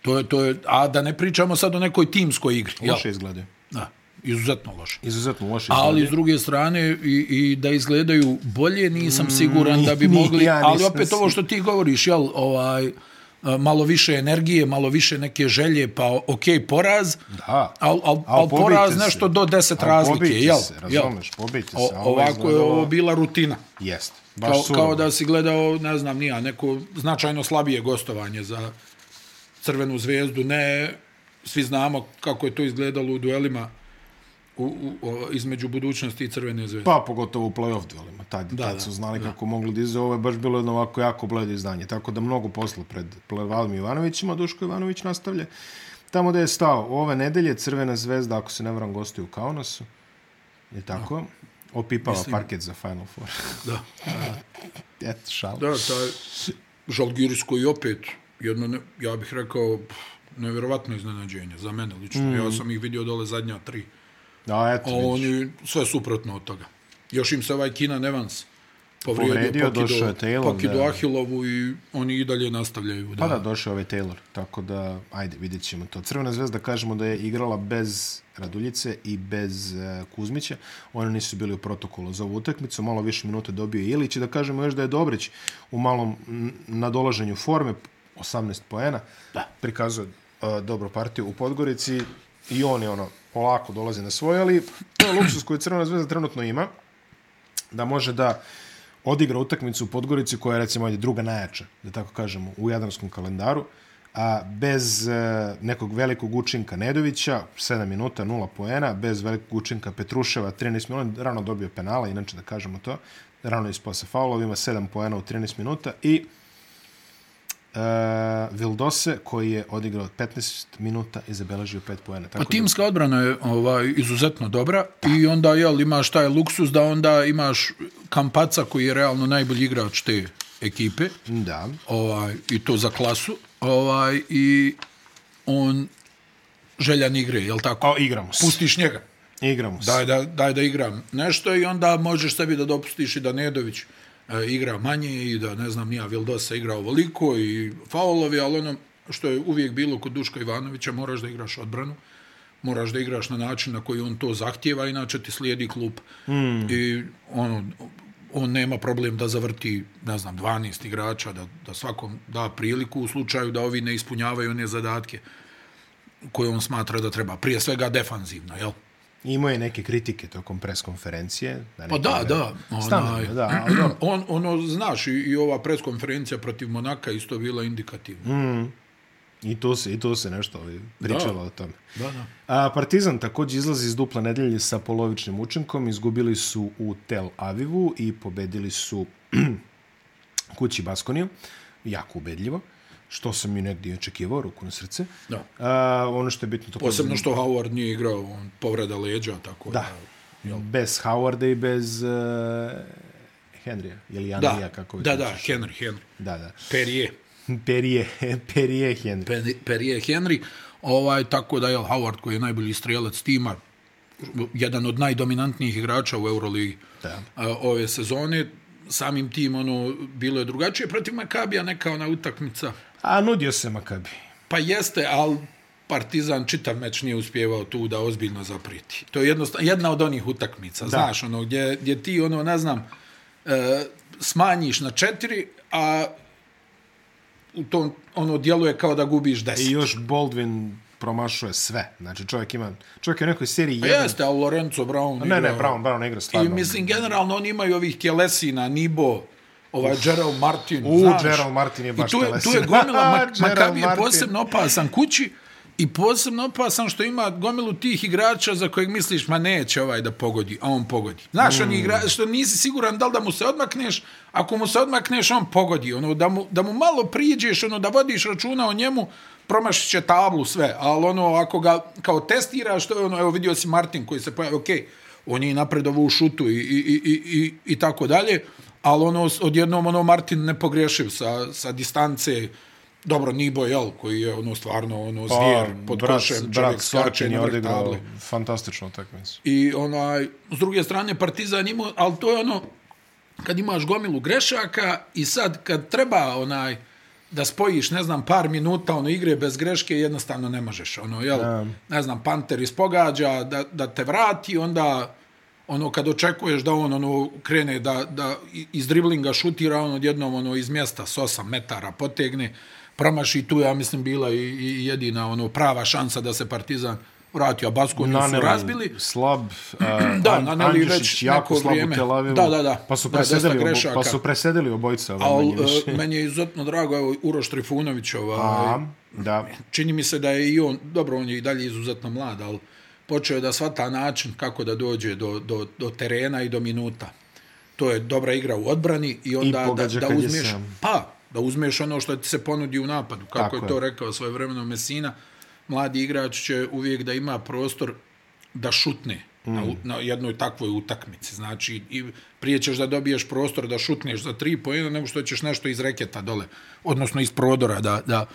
S2: To je, to je, a da ne pričamo sad o nekoj timskoj igri. jel?
S1: Loše izglede.
S2: Da, izuzetno loše.
S1: Izuzetno loše izglede.
S2: Ali s druge strane i, i da izgledaju bolje nisam siguran da bi
S1: Mm, ni-
S2: mogli,
S1: ja
S2: ali
S1: nisam
S2: opet ovo što ti govoriš, jel, ovaj, a, malo više energije, malo više neke želje, pa ok, poraz,
S1: Da.
S2: al, al,
S1: Al
S2: al
S1: pobijte
S2: poraz
S1: se.
S2: nešto do 10
S1: Al
S2: razlike,
S1: pobijte
S2: jel?
S1: se,
S2: jel?
S1: razumeš, pobijte se.
S2: O,
S1: a ovo je
S2: ovako je
S1: izgledalo-
S2: ovo bila rutina.
S1: Jest. Baš
S2: Kao,
S1: surovo.
S2: kao da si gledao, ne znam, nija, neko značajno slabije gostovanje za Crvenu zvezdu. Ne, svi znamo kako je to izgledalo u duelima u, u, o, između budućnosti i Crvene zvezde.
S1: Pa pogotovo u play-off duelima. Tad, da, tad
S2: da,
S1: su znali kako mogli da izu. Ovo je baš bilo jedno ovako jako bledo izdanje. Tako da mnogo posla pred Valom Ivanovićima. Duško Ivanović nastavlja. Tamo da je stao, ove nedelje Crvena zvezda, ako se ne varam, gostuje u Kaunasu. Je tako? Opipava Mislim... parket za Final Four.
S2: Da,
S1: Eto, šal.
S2: da, taj Žalgiris koji opet, jedno, ne, ja bih rekao, pff, nevjerovatno iznenađenje za mene lično. Mm.
S1: Mhm.
S2: Ja sam ih vidio dole zadnja tri.
S1: A, eto,
S2: A
S1: vidiš.
S2: oni sve suprotno od toga. Još im se ovaj Kina Nevans povrijedio,
S1: Povrijedio, došao je Taylor,
S2: pokido
S1: da.
S2: Ahilovu i oni i dalje nastavljaju. Da.
S1: Pa da, došao je ovaj Taylor, tako da, ajde, vidjet ćemo to. Crvena zvezda, kažemo da je igrala bez Raduljice i bez e, Kuzmića. Oni nisu bili u protokolu za ovu utakmicu, malo više minuta dobio je Ilić i da kažemo još da je Dobrić u malom m, nadolaženju forme, 18 poena, da. prikazuje e, dobru partiju u Podgorici i on je ono, polako dolazi na svoje, ali to je luksus koji Crvena zvezda trenutno ima, da može da odigra utakmicu u Podgorici koja je recimo ajde, druga najjača, da tako kažemo, u jadranskom kalendaru, a bez e, nekog velikog učinka Nedovića, 7 minuta, 0 poena, bez velikog učinka Petruševa, 13 minuta, rano dobio penala, inače da kažemo to, rano ispao sa faulov, ima 7 poena u 13 minuta i e, Vildose koji je odigrao 15 minuta i zabeležio 5 poena. Tako
S2: Pa timska odbrana je ovaj, izuzetno dobra i onda jel, imaš taj luksus da onda imaš Kampaca koji je realno najbolji igrač te ekipe
S1: da, da,
S2: ovaj, i to za klasu ovaj, i on željan igre, jel tako?
S1: o, igramo se.
S2: Pustiš njega.
S1: Igramo se.
S2: daj da, daj da igram nešto i onda možeš sebi da dopustiš i da Nedović e, igra manje i da, ne znam, nija Vildosa igra ovoliko i faulovi, ali ono što je uvijek bilo kod Duška Ivanovića, moraš da igraš odbranu, moraš da igraš na način na koji on to zahtjeva, inače ti slijedi klub. Mm. I ono, on nema problem da zavrti, ne znam, 12 igrača, da, da svakom da priliku u slučaju da ovi ne ispunjavaju one zadatke koje on smatra da treba. Prije svega defanzivno, jel?
S1: Imao je neke kritike tokom preskonferencije. Na
S2: Pa da, da.
S1: Standardno, da, ali dobro.
S2: On, ono, znaš, i, i ova preskonferencija protiv Monaka isto bila indikativna. Mm.
S1: I tu se, i tu se nešto ovaj, pričalo o tome.
S2: Da, da.
S1: A, Partizan također izlazi iz dupla nedelje sa polovičnim učinkom. Izgubili su u Tel Avivu i pobedili su kući Baskoniju. Jako ubedljivo. što sam i negdje očekivao, ruku na srce.
S2: Da.
S1: A, ono što je bitno... To
S2: Posebno što Howard nije igrao, on povreda leđa, tako
S1: Da. Bez Howarda i bez uh, Henrya. Ili Andrija,
S2: Da,
S1: kako
S2: da,
S1: već
S2: da,
S1: hoćeš.
S2: Henry, Henry.
S1: Da, da.
S2: Perrier.
S1: Perije, Perije Henry.
S2: Pe- Perrier Henry, ovaj, tako da je Howard koji je najbolji strelac tima, jedan od najdominantnijih igrača u Euroligi
S1: Da.
S2: a, ove sezone, samim tim ono bilo je drugačije protiv Makabija neka ona utakmica
S1: A nudio se Makabi.
S2: pa jeste ali Partizan čitav meč nije uspjevao tu da ozbiljno zaprijeti. To je jednostavno jedna od onih utakmica, da. znaš, ono gdje gdje ti ono ne znam e, smanjiš na četiri, a u tom ono djeluje kao da gubiš 10.
S1: I još Baldwin promašuje sve. Znači čovjek ima, čovjek je u nekoj seriji
S2: Pa
S1: jedan.
S2: jeste, ali Lorenzo Brown
S1: Ne, ne,
S2: igrao.
S1: Brown, Brown igra
S2: I
S1: stvarno.
S2: mislim, generalno, oni imaju ovih tjelesina, Nibo, ovaj Gerald Martin,
S1: U,
S2: znaš.
S1: Gerald Martin je baš
S2: I tu je, tu
S1: tjelesina.
S2: je gomila,
S1: Gerald
S2: Mak- Makabi je
S1: Martin.
S2: posebno opasan kući i posebno opasan što ima gomilu tih igrača za kojeg misliš, ma neće ovaj da pogodi, a on pogodi. Znaš, mm. on igra, što nisi siguran da li da mu se odmakneš, ako mu se odmakneš, on pogodi. Ono, da, mu, da mu malo priđeš, ono, da vodiš računa o njemu, promašit će tablu sve, ali ono, ako ga kao testiraš, to je ono, evo vidio si Martin koji se pojavio, okej, on je i napredovao u šutu i, i, i, i, i, i tako dalje, ali ono, odjednom ono Martin ne pogrešiv sa, sa distance, dobro, Nibo, jel, koji je ono stvarno ono zvijer pod
S1: Pa, brat,
S2: košem, čovjek
S1: brat
S2: skače
S1: Sorkin je
S2: na vrh
S1: odigrao
S2: table.
S1: fantastičnu utakmicu.
S2: I onaj, s druge strane, Partizan imao, ali to je ono, kad imaš gomilu grešaka i sad kad treba onaj, da spojiš, ne znam, par minuta ono igre bez greške, jednostavno ne možeš. Ono, jel, ne znam, Panter ispogađa, da, da te vrati, onda ono kad očekuješ da on ono krene da, da iz driblinga šutira on odjednom ono iz mjesta s 8 metara potegne promaši tu ja mislim bila i, i jedina ono prava šansa da se Partizan vratio a Baskoniju su
S1: Naneli
S2: razbili
S1: slab, uh,
S2: Da,
S1: An-
S2: Naneli
S1: Andjušić
S2: već
S1: jako
S2: neko
S1: slab
S2: vrijeme.
S1: u Tel Avivu.
S2: Da, da, da.
S1: Pa su
S2: Da, dosta
S1: presedeli, obo,
S2: grešaka.
S1: pa su presedeli obojica. ovaj,
S2: Al,
S1: manje više. Pa.
S2: e, meni je izuzetno drago, evo, Uroš Trifunović, ovaj,
S1: A, da.
S2: čini mi se da je i on, dobro, on je i dalje izuzetno mlad, ali počeo je da svata način kako da dođe do, do, do terena i do minuta. To je dobra igra u odbrani i onda da,
S1: pogađa
S2: da
S1: kad je
S2: uzmeš,
S1: sam.
S2: pa, da uzmeš ono što ti se ponudi u napadu, kako
S1: Tako
S2: je
S1: je.
S2: to rekao svoje vremeno Mesina, mladi igrač će uvijek da ima prostor da šutne mm. na, u- na jednoj takvoj utakmici. Znači, i prije ćeš da dobiješ prostor da šutneš za tri pojena nego što ćeš nešto iz reketa dole, odnosno iz prodora da, da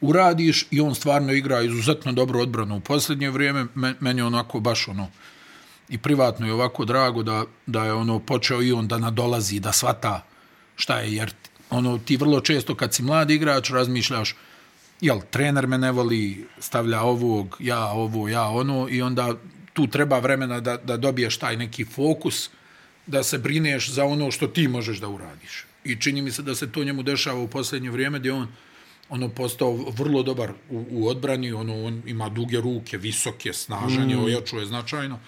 S2: uradiš i on stvarno igra izuzetno dobro odbranu. U posljednje vrijeme me- meni je onako baš ono i privatno je ovako drago da, da je ono počeo i on da nadolazi, da svata šta je, jer ono ti vrlo često kad si mlad igrač razmišljaš jel, trener me ne voli, stavlja ovog, ja ovo, ja ono, i onda tu treba vremena da, da dobiješ taj neki fokus, da se brineš za ono što ti možeš da uradiš. I čini mi se da se to njemu dešava u posljednje vrijeme, gdje on ono postao vrlo dobar u, u odbrani, ono, on ima duge ruke, visoke, snažan je, mm. ojačuje značajno.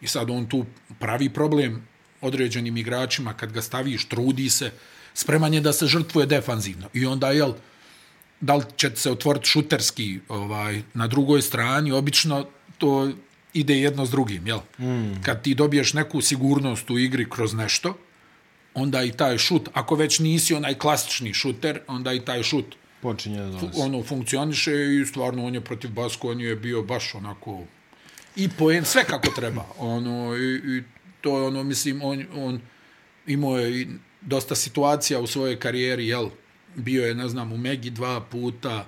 S2: I sad on tu pravi problem određenim igračima kad ga staviš, trudi se, spreman je da se žrtvuje defanzivno. I onda, jel, da li će se otvoriti šuterski ovaj, na drugoj strani, obično to ide jedno s drugim, jel? Mm. Kad ti dobiješ neku sigurnost u igri kroz nešto, onda i taj šut, ako već nisi onaj klasični šuter, onda i taj šut
S1: Počinje da dolazi.
S2: ono funkcioniše i stvarno on je protiv Baskonije je bio baš onako i poen sve kako treba. Ono i, i to je ono mislim on on imao je i dosta situacija u svojoj karijeri, jel? Bio je ne znam u Megi dva puta,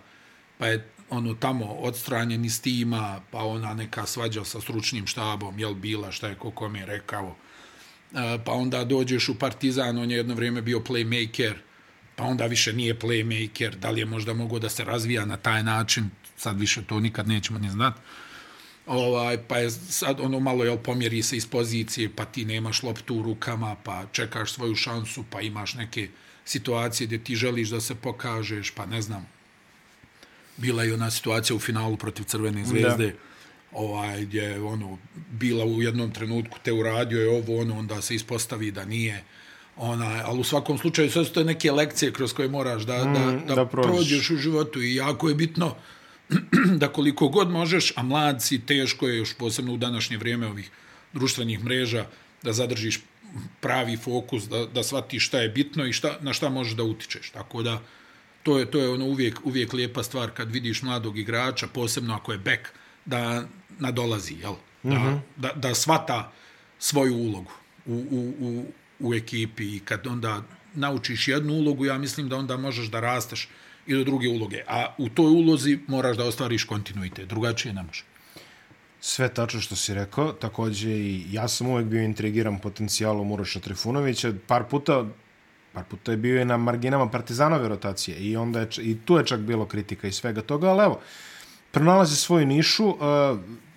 S2: pa je ono tamo odstranjen iz tima, pa ona neka svađa sa stručnim štabom, jel bila šta je ko kom je rekao. E, pa onda dođeš u Partizan, on je jedno vrijeme bio playmaker, pa onda više nije playmaker, da li je možda mogao da se razvija na taj način, sad više to nikad nećemo ni znati. Ovaj, pa je sad ono malo jel, pomjeri se iz pozicije, pa ti nemaš loptu u rukama, pa čekaš svoju šansu, pa imaš neke situacije gdje ti želiš da se pokažeš, pa ne znam. Bila je ona situacija u finalu protiv Crvene zvezde, ovaj, gdje je ono, bila u jednom trenutku, te uradio je ovo, ono, onda se ispostavi da nije. Ona, ali u svakom slučaju sve su to neke lekcije kroz koje moraš da, mm, da, da,
S1: da
S2: da
S1: prođeš.
S2: prođeš u životu i jako je bitno da koliko god možeš, a mlad si, teško je još posebno u današnje vrijeme ovih društvenih mreža, da zadržiš pravi fokus, da, da shvatiš šta je bitno i šta, na šta možeš da utičeš. Tako da to je to je ono uvijek uvijek lijepa stvar kad vidiš mladog igrača, posebno ako je bek, da nadolazi, jel? Da, mm
S1: Mhm.
S2: -hmm. da, da svata svoju ulogu u, u, u, u ekipi i kad onda naučiš jednu ulogu, ja mislim da onda možeš da rasteš i do druge uloge. A u toj ulozi moraš da ostvariš kontinuitet, drugačije ne može.
S1: Sve tačno što si rekao, takođe i ja sam uvek bio intrigiran potencijalom Uroša Trifunovića, par puta par puta je bio i na marginama Partizanove rotacije i onda je, i tu je čak bilo kritika i svega toga, ali evo, pronalazi svoju nišu, E,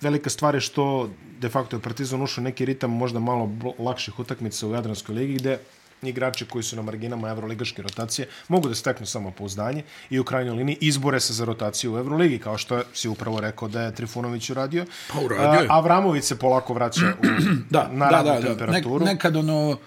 S1: velika stvar je što de facto je Partizan ušao neki ritam možda malo lakših utakmica u Jadranskoj ligi gde igrači koji su na marginama evroligaške rotacije mogu da steknu samo pouzdanje i u krajnjoj liniji izbore se za rotaciju u Evroligi, kao što si upravo rekao da je Trifunović uradio.
S2: Pa uradio je.
S1: A, Avramović se polako vraća u, da, na da, da, temperaturu.
S2: Ne, nekad ono,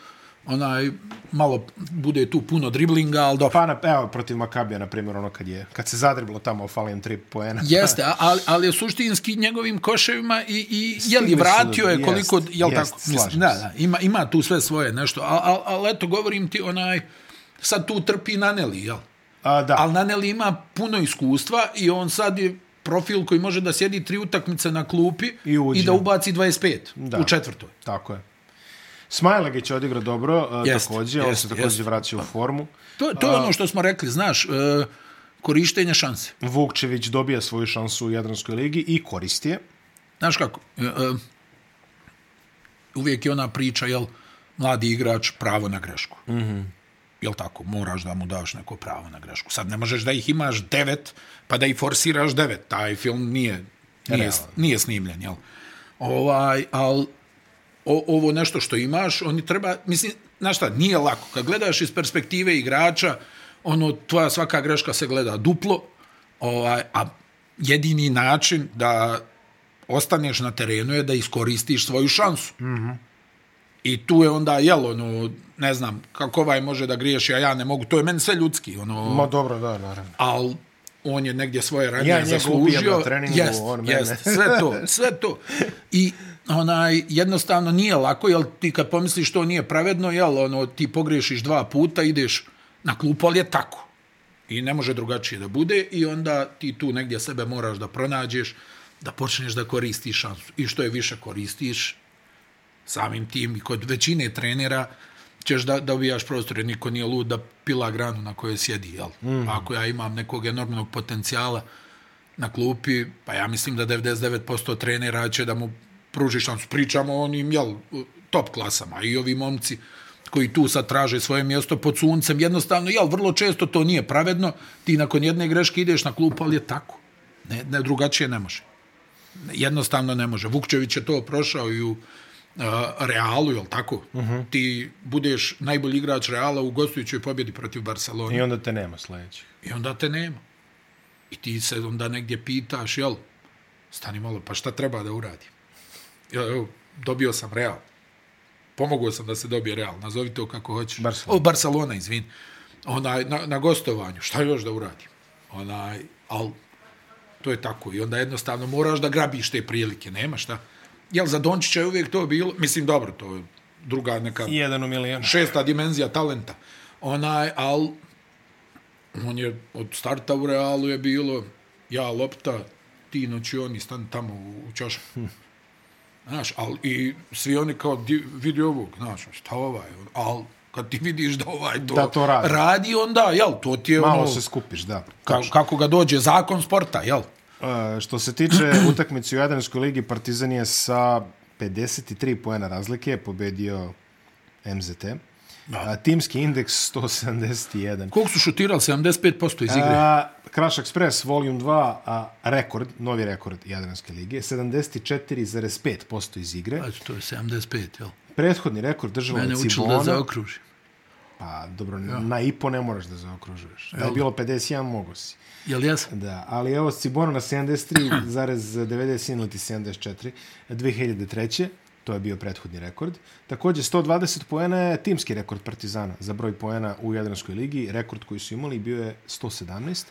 S2: onaj, malo bude tu puno driblinga, ali dobro.
S1: Pa, na, evo, protiv Makabija, na primjer, ono kad je, kad se zadriblo tamo, falim tri poena.
S2: Jeste, ali, ali je suštinski njegovim koševima i, i je li vratio je koliko, jest, jel jest, tako? Mislim, da, da, ima, ima tu sve svoje nešto, ali al, al, eto, govorim ti, onaj, sad tu trpi Naneli, jel?
S1: A, da.
S2: Ali Naneli ima puno iskustva i on sad je profil koji može da sjedi tri utakmice na klupi
S1: I, uđe.
S2: i da ubaci 25 da. u četvrtoj.
S1: Tako je. Smajlagić odigra dobro, jest, također, jest, on se također jest. vraća u formu.
S2: To, to je ono što smo rekli, znaš, e, korištenje šanse.
S1: Vukčević dobija svoju šansu u Jadranskoj ligi i koristi je.
S2: Znaš kako, e, e, uvijek je ona priča, jel, mladi igrač pravo na grešku. Mm
S1: Mhm.
S2: -hmm. Jel tako, moraš da mu daš neko pravo na grešku. Sad ne možeš da ih imaš devet, pa da ih forsiraš devet. Taj film nije, nije, nije, nije snimljen, jel? Ovaj, ali o, ovo nešto što imaš, oni treba, mislim, znaš šta, nije lako. Kad gledaš iz perspektive igrača, ono, tvoja svaka greška se gleda duplo, ovaj, a jedini način da ostaneš na terenu je da iskoristiš svoju šansu. Mm -hmm. I tu je onda, jel, ono, ne znam, kako ovaj može da griješi, a ja ne mogu, to je meni sve ljudski, ono.
S1: Ma dobro, da, naravno.
S2: Ali on je negdje svoje ranije ja zaslužio.
S1: Ja treningu,
S2: jest,
S1: on mene.
S2: Jest, sve to, sve to. I onaj, jednostavno nije lako, jel ti kad pomisliš to nije pravedno, jel, ono, ti pogrešiš dva puta, ideš na klupu, ali je tako. I ne može drugačije da bude i onda ti tu negdje sebe moraš da pronađeš, da počneš da koristiš šansu. I što je više koristiš, samim tim i kod većine trenera, ćeš da, da ubijaš prostor, jer niko nije lud da pila granu na kojoj sjedi, jel? Mm. Pa ako ja imam nekog enormnog potencijala na klupi, pa ja mislim da 99% trenera će da mu pruži šansu. Pričamo o onim, jel, top klasama i ovi momci koji tu sad traže svoje mjesto pod suncem. Jednostavno, jel, vrlo često to nije pravedno. Ti nakon jedne greške ideš na klupu, ali je tako. Ne, ne, drugačije ne može. Jednostavno ne može. Vukčević je to prošao i u uh, Realu, jel tako? Uh -huh. Ti budeš najbolji igrač Reala u gostujućoj pobjedi protiv Barcelona.
S1: I onda te nema sljedećih.
S2: I onda te nema. I ti se onda negdje pitaš, jel, stani malo, pa šta treba da uradim? evo, dobio sam Real. Pomogao sam da se dobije Real, nazovi to kako hoćeš.
S1: Barcelona.
S2: O, Barcelona, izvin. Onaj, na, na gostovanju, šta još da uradim? Onaj, al, to je tako. I onda jednostavno moraš da grabiš te prilike, nema šta. Jel, za Dončića je uvijek to bilo, mislim, dobro, to je druga neka...
S1: Jedan u milijon.
S2: Šesta dimenzija talenta. Onaj, al, on je od starta u Realu je bilo, ja lopta, ti noći oni stan tamo u, u čašu. Hm. Znaš, al, i svi oni kao di, vidi ovog, znaš, šta ovaj, al kad ti vidiš da ovaj to,
S1: da to radi.
S2: radi, onda, jel, to ti je
S1: Malo
S2: ono...
S1: se skupiš, da.
S2: Ka, kako ga dođe, zakon sporta, jel?
S1: E, što se tiče utakmice u Jadranskoj ligi, Partizan je sa 53 poena razlike pobedio MZT. Da. A, timski indeks 171.
S2: Koliko su šutirali? 75% iz igre?
S1: A, Crash Express Volume 2 a, rekord, novi rekord Jadranske lige, 74,5% iz igre.
S2: Znači, to je 75, jel?
S1: Prethodni rekord država
S2: Mene
S1: Cibona.
S2: učili da zaokružim.
S1: Pa dobro, ja. na ipo ne moraš da zaokružuješ. Da je bilo 51, mogo si.
S2: Jel jesam?
S1: Da, ali evo Cibona na 73,90 ili 74, 2003. To je bio prethodni rekord. Također, 120 poena je timski rekord Partizana za broj poena u Jadranskoj ligi. Rekord koji su imali bio je 117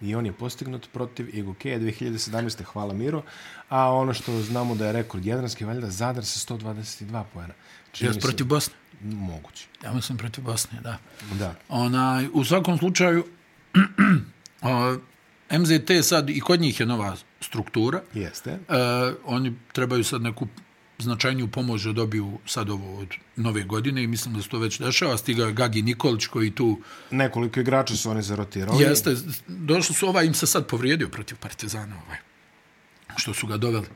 S1: i on je postignut protiv Igokeja 2017. Hvala Miro. A ono što znamo da je rekord Jadranski valjda Zadar sa 122 poena.
S2: Čini Jes protiv Bosne?
S1: Moguće.
S2: Ja mislim protiv Bosne, da.
S1: Da.
S2: Onaj, u svakom slučaju, O, MZT sad, i kod njih je nova struktura,
S1: Jeste.
S2: E, oni trebaju sad neku značajniju pomoć da dobiju sad ovo od nove godine i mislim da se to već dešava. Stigao je Gagi Nikolić koji tu
S1: Nekoliko igrača su oni zarotirali.
S2: jeste, došli su, ovaj im se sad povrijedio protiv Partizana ovaj, što su ga doveli.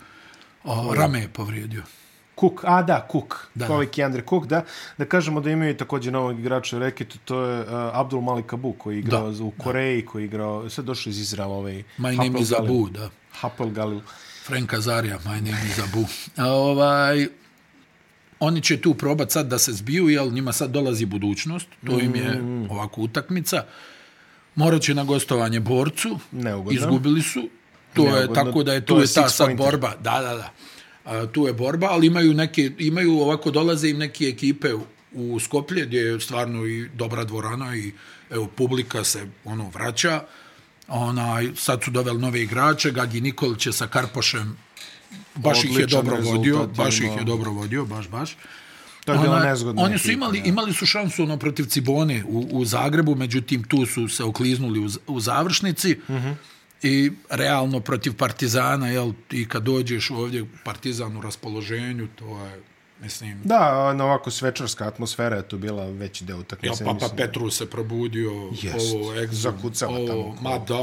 S2: O, rame je povrijedio.
S1: Cook, a da, Cook. Da.
S2: Da.
S1: Kolik i Andre Cook, da. Da kažemo da imaju također novog igrača u reketu, to je uh, Abdul Malik Abu koji je igrao
S2: Da.
S1: u Koreji, koji je igrao, sad došao iz Izraela ovaj
S2: My name is
S1: Galil.
S2: Abu, da.
S1: Hapel Galil.
S2: Frank Azarija, my name is Abu. A, ovaj, oni će tu probat sad da se zbiju, jel njima sad dolazi budućnost, to im je ovako utakmica. Morat će na gostovanje borcu,
S1: Neugodno.
S2: izgubili su, to je
S1: Neugodno.
S2: tako da je tu
S1: To je
S2: je, ta
S1: six
S2: sad
S1: pointer.
S2: borba, da, da, da. A, tu je borba, ali imaju neke, imaju ovako, dolaze im neke ekipe u- u Skoplje, gdje je stvarno i dobra dvorana i evo, publika se ono vraća. Onaj, sad su doveli nove igrače, Gagi Nikolić je sa Karpošem baš ih je
S1: Odličan
S2: dobro
S1: rezultat
S2: vodio, baš ih
S1: imao.
S2: je dobro vodio, baš, baš.
S1: To je bilo
S2: Ona-
S1: nezgodno.
S2: Oni su imali, imali su šansu ono protiv Cibone u, u Zagrebu, međutim tu su se okliznuli u, z- u završnici.
S1: Mhm.
S2: I realno protiv Partizana, jel, i kad dođeš ovdje Partizan u raspoloženju, to je, mislim,
S1: Da, ono, ovako svečarska atmosfera je tu bila veći deo
S2: jel,
S1: utakmice.
S2: Papa
S1: mislim.
S2: Petru se probudio,
S1: Jest,
S2: ovo, egzum,
S1: zakucava
S2: ovo,
S1: tamo.
S2: ma da,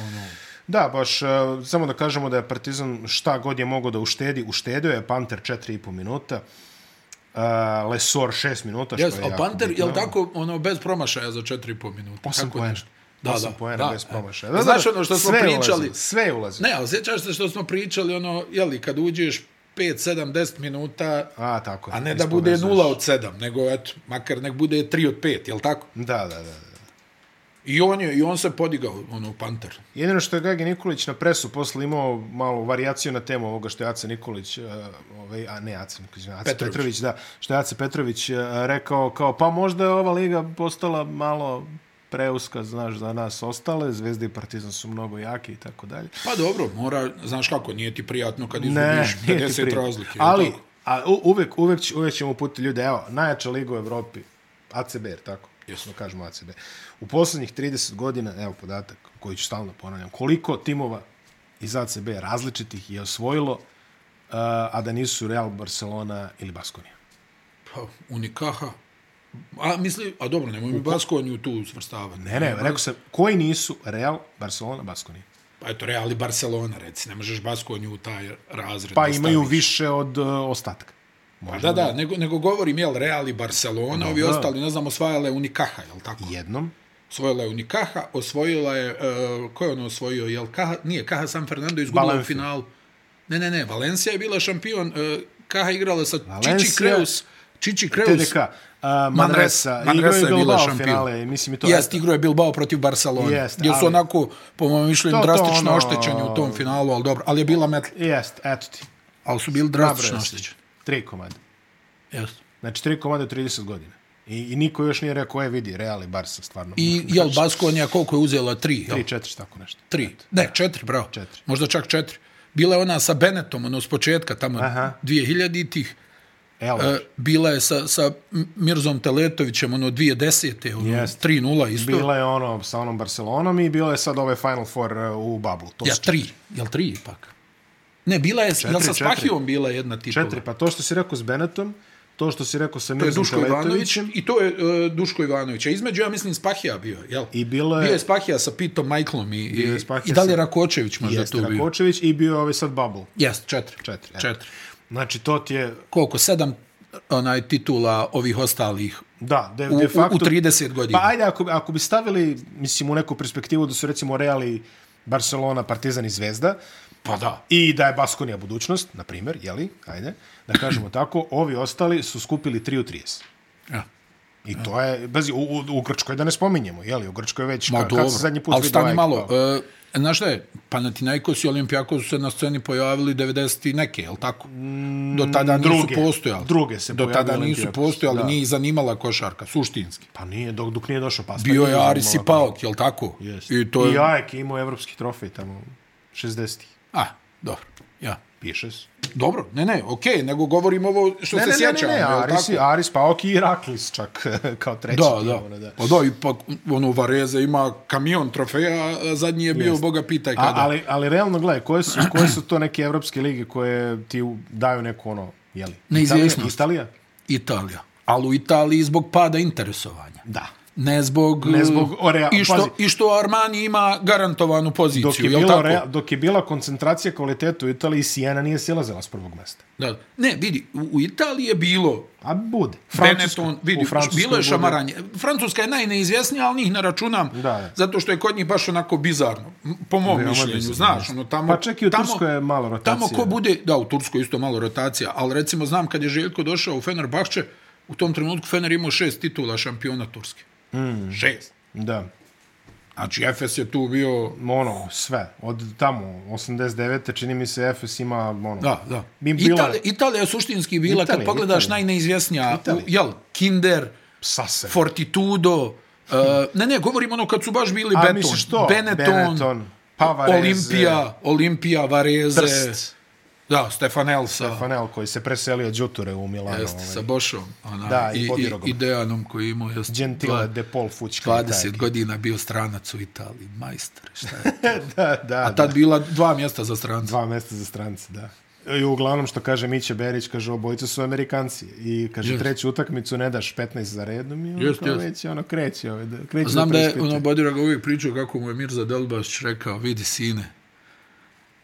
S2: ono,
S1: Da, baš, e, samo da kažemo da je Partizan šta god je mogao da uštedi, uštedio je Panter 4,5 minuta, e, Lesor 6 minuta, što
S2: Jes,
S1: je
S2: a
S1: jako
S2: Panter,
S1: bitno.
S2: jel tako, ono, bez promašaja za 4,5 minuta?
S1: Osam
S2: Kako
S1: poena.
S2: nešto? Da,
S1: Osam
S2: da,
S1: poena
S2: da,
S1: bez
S2: e.
S1: promašaja.
S2: Znaš ono što smo
S1: sve je
S2: pričali?
S1: Ulazi, sve je ulazi.
S2: Ne, ali sjećaš se što smo pričali, ono, jeli, kad uđeš 5, 7, 10 minuta,
S1: A, tako je.
S2: a ne da bude
S1: ispovezuješ.
S2: 0 od 7, nego, eto, makar nek bude 3 od 5, jel tako?
S1: Da, da, da. da.
S2: I on, je, i on se podigao, ono, Panter.
S1: Jedino što je Gagi Nikolić na presu posle imao malu varijaciju na temu ovoga što je Aca Nikolić, e, ovaj, a ne Aca Nikolić, Aca Petrović.
S2: Petrović.
S1: Petrović, da, što je Aca Petrović e, rekao kao, pa možda je ova liga postala malo preuska, znaš, za nas ostale, Zvezda i Partizan su mnogo jaki i tako dalje.
S2: Pa dobro, mora, znaš kako, nije ti prijatno kad
S1: Ne,
S2: izgubiš
S1: nije ti
S2: 50
S1: prije.
S2: razlike. jel
S1: Ali,
S2: tako?
S1: a, u, uvek, uvek, će- uvek ćemo uputiti ljude, evo, najjača liga u Evropi, ACB, jer tako? Jesno kažemo ACB. U posljednjih 30 godina, evo podatak koji ću stalno ponavljam, koliko timova iz ACB različitih je osvojilo, uh, a da nisu Real, Barcelona ili Baskonija.
S2: Pa, Unikaha. A, misli, a dobro, nemoj mi Baskoniju tu svrstavati.
S1: Ne, ne, rekao sam, koji nisu Real, Barcelona, Baskonija?
S2: Pa eto, Real i Barcelona, reci, ne možeš Baskonju u taj razred.
S1: Pa
S2: da
S1: imaju
S2: staviš.
S1: više od uh, ostatka.
S2: Pa da, da, nego, nego govorim, jel, Real i Barcelona, ovi ostali, ne znam, osvajala je Unikaha, jel tako?
S1: Jednom,
S2: Osvojila je Unikaha, osvojila je, uh, ko je ono osvojio, jel, Kaha, nije, Kaha San Fernando izgubila
S1: Valencia.
S2: u finalu. Ne, ne, ne, Valencija je bila šampion, uh, Kaha igrala sa
S1: Valencia,
S2: Čiči Kreus, Čiči Kreus,
S1: TDK, uh, Manresa, Manresa igraju Bilbao finale, mislim i to.
S2: Jeste, igro je Bilbao protiv Barcelone.
S1: Jeste,
S2: Jeste, gdje su
S1: ali-
S2: onako, po mojom mišljenju,
S1: To- to
S2: drastično
S1: ono-
S2: oštećeni u tom finalu, ali dobro, ali je bila metla.
S1: Jest, eto ti.
S2: Ali su bili drastično oštećeni.
S1: Tri komade.
S2: Jeste.
S1: Znači, tri komade u 30 godina. I, i niko još nije rekao, je vidi, Real i Barca, stvarno.
S2: I, jel, Baskonija koliko je uzela? Tri, jel?
S1: Tri, četiri, tako nešto.
S2: Tri. Ne, četiri, bravo.
S1: Četiri.
S2: Možda čak četiri. Bila je ona sa Benetom, ono, s početka, tamo,
S1: Aha.
S2: 2000-ih.
S1: Evo,
S2: E, bila je sa, sa Mirzom Teletovićem, ono, 2010. Ono,
S1: Jeste.
S2: 3-0 isto.
S1: bila je ono sa onom Barcelonom i bila je sad ovaj Final Four e, u Bablu. To
S2: Ja,
S1: su
S2: tri. Jel tri ipak? Ne, bila je, jel
S1: četiri.
S2: sa Spahijom bila jedna titula?
S1: četiri. Pa to što si rekao s Benetom, to što si rekao sa
S2: To je
S1: Mirzom
S2: Duško Ivanović
S1: Teletovićem,
S2: i to je uh, Duško Ivanović. A između, ja mislim, Spahija bio, jel?
S1: I bilo je-
S2: Bio je Spahija sa Pitom Majklom i, i,
S1: je Spahija
S2: i da li je
S1: sa-
S2: Rakočević možda
S1: jeste
S2: tu bio?
S1: Rakočević i bio je ovaj sad Bablu.
S2: Jeste, četiri.
S1: Četiri, eto.
S2: Četiri.
S1: Znači, to ti je,
S2: Koliko? Sedam onaj titula ovih ostalih
S1: da, de,
S2: u,
S1: de facto...
S2: u, u 30 godina.
S1: Pa ajde, ako, bi- ako bi stavili, mislim, u neku perspektivu da su recimo Real i Barcelona, Partizan i Zvezda,
S2: pa da.
S1: I da je Baskonija budućnost, na primjer, jeli, ajde, da kažemo tako, ovi ostali su skupili 3 u 30.
S2: Ja.
S1: I to je, bazi, u, u, u Grčkoj da ne spominjemo, jeli, u Grčkoj je već,
S2: Ma
S1: ka,
S2: dobro,
S1: kad se zadnji put
S2: ali
S1: videla
S2: stani
S1: ekipa?
S2: malo. E, znaš šta je, Panathinaikos i Olimpijakos su se na sceni pojavili 90 i neke, je li tako? Do tada nisu
S1: Mm, druge.
S2: postojali.
S1: Druge se
S2: Do
S1: pojavio
S2: tada nisu
S1: Olympiakos,
S2: postojali,
S1: da.
S2: nije ih zanimala košarka, suštinski.
S1: Pa nije, dok, dok nije došao pas.
S2: Bio je Aris i Paok, jel tako?
S1: Yes.
S2: I to je...
S1: I Ajek je imao evropski trofej tamo, 60-ih.
S2: A, dobro, ja.
S1: Piše se.
S2: Dobro, ne, ne, okej, nego govorim ovo što
S1: Ne,
S2: se
S1: ne, ne, ne,
S2: sjećam.
S1: ne,
S2: jel
S1: Aris,
S2: tako?
S1: i- Aris, pa ok, i Raklis čak kao treći.
S2: Da,
S1: tim,
S2: da.
S1: ono,
S2: Pa da, ipak, ono, Vareze ima kamion trofeja, a zadnji je bio, boga pitaj
S1: A,
S2: kada.
S1: ali, ali realno, gledaj, koje su, koje su to neke evropske lige koje ti u- daju neku ono, jeli?
S2: Neizvjesnost.
S1: Italija? Italija?
S2: Italija. Ali u Italiji zbog pada interesovanja.
S1: Da.
S2: Ne zbog...
S1: Ne zbog- o, rea-
S2: I što,
S1: pazi.
S2: I što Armani ima garantovanu poziciju,
S1: Dok je,
S2: jel
S1: bila,
S2: Znači, tako?
S1: rea, dok je bila koncentracija kvaliteta u Italiji, Sijena nije silazila s prvog mesta.
S2: Da. Ne, vidi, u, u Italiji je bilo
S1: A bude. Francuska-
S2: Benetton,
S1: u
S2: vidi,
S1: Francuskoj
S2: bilo je
S1: bude.
S2: šamaranje. Francuska je najneizvjesnija, ali njih ne računam,
S1: Da, da.
S2: zato što je kod njih baš onako bizarno, m, po mom
S1: Veoma
S2: mišljenju,
S1: bizarno,
S2: znaš,
S1: jeste.
S2: ono tamo...
S1: Pa čak i u
S2: tamo-
S1: Turskoj je malo rotacije,
S2: Tamo ko
S1: da.
S2: bude, da, u Turskoj isto malo rotacija, ali recimo znam kad je Željko došao u Fenerbahče, u tom trenutku Fener imao šest titula šampiona Turske. Mm. Šest.
S1: Da.
S2: Znači, Efes je tu bio...
S1: Ono, sve. Od tamo, 89. čini mi se, Efes ima, ono...
S2: Da, da.
S1: Bi bila
S2: Italija, Italija je suštinski bila, Italija,
S1: Italija,
S2: kad pogledaš
S1: Italija.
S2: najneizvjesnija, u,
S1: Italija.
S2: jel, Kinder,
S1: sase.
S2: Fortitudo, uh, ne, ne, govorim ono kad su baš bili
S1: A,
S2: Beton,
S1: misliš to?
S2: Benetton,
S1: Benetton, pa Vareze.
S2: Olimpija, Olimpija, Vareze,
S1: Trst.
S2: da, Stefan Elsa,
S1: Fanel koji se preselio od Đuture u Milano.
S2: jest,
S1: ovaj.
S2: sa Bošom, ona,
S1: Da, i
S2: i, i,
S1: Podirogom.
S2: i Dejanom koji je imao, jest,
S1: Gentile
S2: dva-
S1: de Paul Fučka.
S2: 20 godina bio stranac u Italiji, majster, šta je,
S1: da, da,
S2: a tad bila dva mjesta za stranca.
S1: Dva mesta za strance, da. I uglavnom što kaže Miće Berić, kaže obojica su Amerikanci i kaže
S2: Jest.
S1: treću utakmicu ne daš 15 za redom i ono
S2: Jest,
S1: kao
S2: jest.
S1: već je ono kreće. Ovaj, da, kreće
S2: Znam
S1: da
S2: da je
S1: preispituje.
S2: ono Bodirog uvijek pričao kako mu je Mirza Delbašć rekao, vidi sine,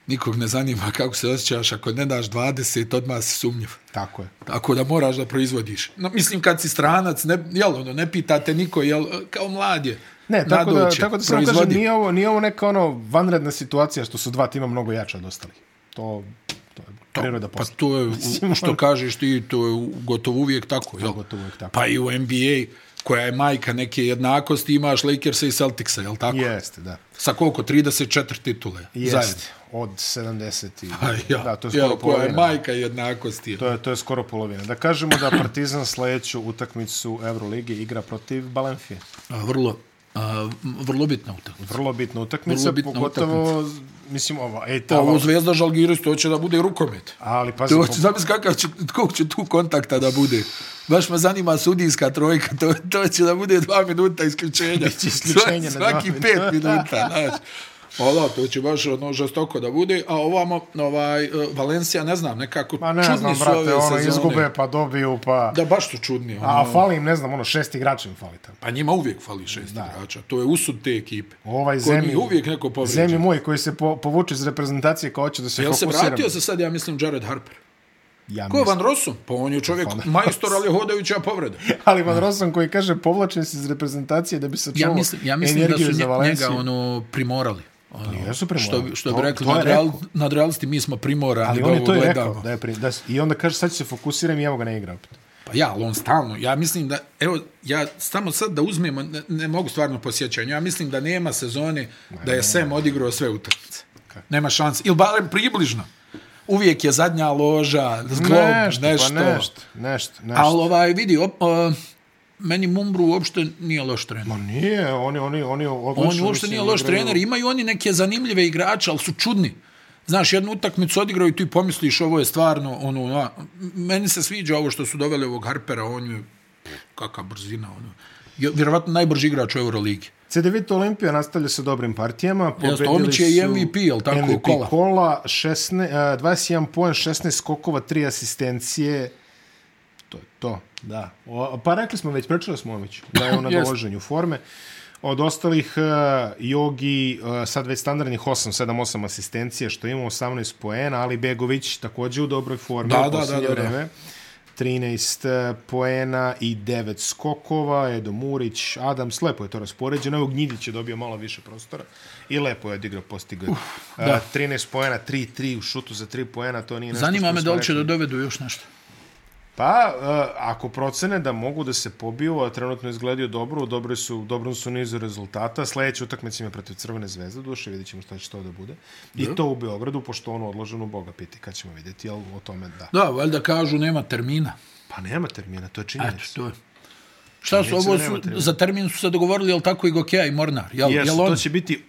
S2: nikog ne zanima kako se osjećaš, ako ne daš 20, odmah si sumnjiv.
S1: Tako je.
S2: Tako da moraš da proizvodiš. No, mislim, kad si stranac, ne, jel, ono, ne pitate niko, jel, kao mlad je.
S1: Ne, tako da,
S2: Nadoće,
S1: tako da samo kažem,
S2: proizvodi.
S1: nije ovo, nije ovo neka ono vanredna situacija što su dva tima mnogo jača od ostalih. To, to je priroda
S2: Pa
S1: posla.
S2: to je, u- što kažeš ti, to je u- gotovo uvijek tako, jel?
S1: ono- gotovo uvijek tako.
S2: Pa i u NBA, koja je majka neke jednakosti, imaš Lakersa i Celticsa, jel tako?
S1: Jeste, da.
S2: Sa koliko? 34 titule. zajedno.
S1: Jeste. Od 70 i...
S2: Pa ja,
S1: da, to je
S2: jel,
S1: skoro
S2: koja je
S1: polovina.
S2: majka jednakosti.
S1: To je, to je skoro polovina. Da kažemo da Partizan sledeću utakmicu Euroligi igra protiv Balenfije.
S2: A, vrlo, a, vrlo bitna utakmica.
S1: Vrlo bitna utakmica,
S2: Vrlo
S1: Vrlo
S2: bitna
S1: bitna pogotovo, mislim, ova, ej, ta,
S2: Ovo
S1: ova,
S2: Zvezda Žalgiris, to će da bude rukomet.
S1: ali pazi,
S2: To
S1: po,
S2: će, zamisli kakav će, koliko će tu kontakta da bude. Baš me zanima sudijska trojka, to, to će da bude dva minuta isključenja.
S1: Biće isključenje na dva
S2: Svaki
S1: minuta.
S2: pet minuta, znaš. Ola, to će baš ono žestoko da bude, a ovamo, ovaj, eh, Valencija, ne znam, nekako
S1: ma Pa ne
S2: čudni
S1: znam,
S2: su
S1: brate,
S2: ove
S1: ono,
S2: sezone.
S1: izgube, pa dobiju, pa...
S2: Da, baš su čudni. Ono,
S1: A fali im, ne znam, ono, šest igrača im fali tamo.
S2: pa njima uvijek fali šest igrača. To je usud te ekipe.
S1: Ovaj
S2: Kod njih
S1: zemlji,
S2: uvijek neko povrijeđen.
S1: zemlji moj koji se po, povuče iz reprezentacije kao hoće da se
S2: Jel se
S1: fokusira.
S2: vratio se sad, ja mislim, Jared Harper?
S1: Ja
S2: Ko je
S1: mislim.
S2: Van Rossum? Pa on je čovjek
S1: Van Rossum.
S2: majstor, ali je hodajuća povreda.
S1: Ali Van Rossum koji kaže povlačen se iz reprezentacije da bi sačuvao
S2: Ja mislim, ja mislim da
S1: energiju
S2: su
S1: za
S2: nje- njega
S1: Valenciju.
S2: ono primorali. Ono,
S1: Jesu primorali.
S2: Što, bi- što bi
S1: To-
S2: rekli,
S1: to je
S2: nad, real,
S1: rekao.
S2: nad realisti mi smo primorani
S1: Ali
S2: da
S1: on je
S2: ovo
S1: to i
S2: gledamo.
S1: rekao. Da je pri, da, s- I onda kaže sad ću se fokusiram i evo ga ne igra opet.
S2: Pa ja, ali on stalno, ja mislim da, evo, ja samo sad da uzmemo, ne, ne mogu stvarno posjećanje, ja mislim da nema sezone da je Sem odigrao sve utakmice. Nema šanse. Ili barem približno. Uvijek je zadnja loža, zglob, nešto.
S1: Pa nešto, nešto, nešto.
S2: Ali ovaj, vidi, op, o, meni Mumbru uopšte nije loš trener.
S1: Ma nije, oni, oni, oni odlično.
S2: On uopšte
S1: mislim,
S2: nije loš
S1: igraju.
S2: trener, imaju oni neke zanimljive igrače, ali su čudni. Znaš, jednu utakmicu odigraju i ti pomisliš ovo je stvarno, ono, a, meni se sviđa ovo što su doveli ovog Harpera, on je, kaka brzina, ono. Je, vjerovatno najbrži igrač u Euroligi.
S1: CDVita Olimpija nastavlja sa dobrim partijama. Pobedili
S2: Omić je i
S1: su
S2: MVP, jel tako,
S1: MVP
S2: kola?
S1: kola 16, uh, 21 poen, 16 skokova, 3 asistencije. To je to, da. O, pa rekli smo već, pričali smo o Omiću, da je on na
S2: Jeste.
S1: doloženju forme. Od ostalih uh, Jogi, uh, sad već standardnih 8, 7, 8 asistencije, što ima 18 poena, ali Begović takođe u dobroj formi
S2: Da,
S1: u
S2: da,
S1: posljednje
S2: da, da, da.
S1: vreme. 13 eh, poena i 9 skokova, Edo Murić, Adams, lepo je to raspoređeno, evo Gnjidić je dobio malo više prostora i lepo je odigrao postigao. Uh, 13 poena, 3-3 u šutu za 3 poena, to nije nešto
S2: Zanima
S1: što
S2: me
S1: smo
S2: da li će
S1: rekli.
S2: da dovedu još nešto.
S1: Pa, uh, ako procene da mogu da se pobiju, a trenutno izgledaju dobro, u dobro su, u dobrom su nizu rezultata, sledeća utakmica im je protiv Crvene zvezde, duše vidjet ćemo šta će to da bude. I to u Beogradu, pošto ono odloženo, Boga piti, kad ćemo vidjeti, ali o tome da.
S2: Da, valjda kažu nema termina.
S1: Pa nema termina, to je
S2: Eto,
S1: činjenica.
S2: to je. Šta su
S1: Neće da
S2: ovo,
S1: nema
S2: su,
S1: termina.
S2: za termin su se dogovorili, jel tako, i Gokeja i Mornar? Jel,
S1: Jesu,
S2: jel on,
S1: to će biti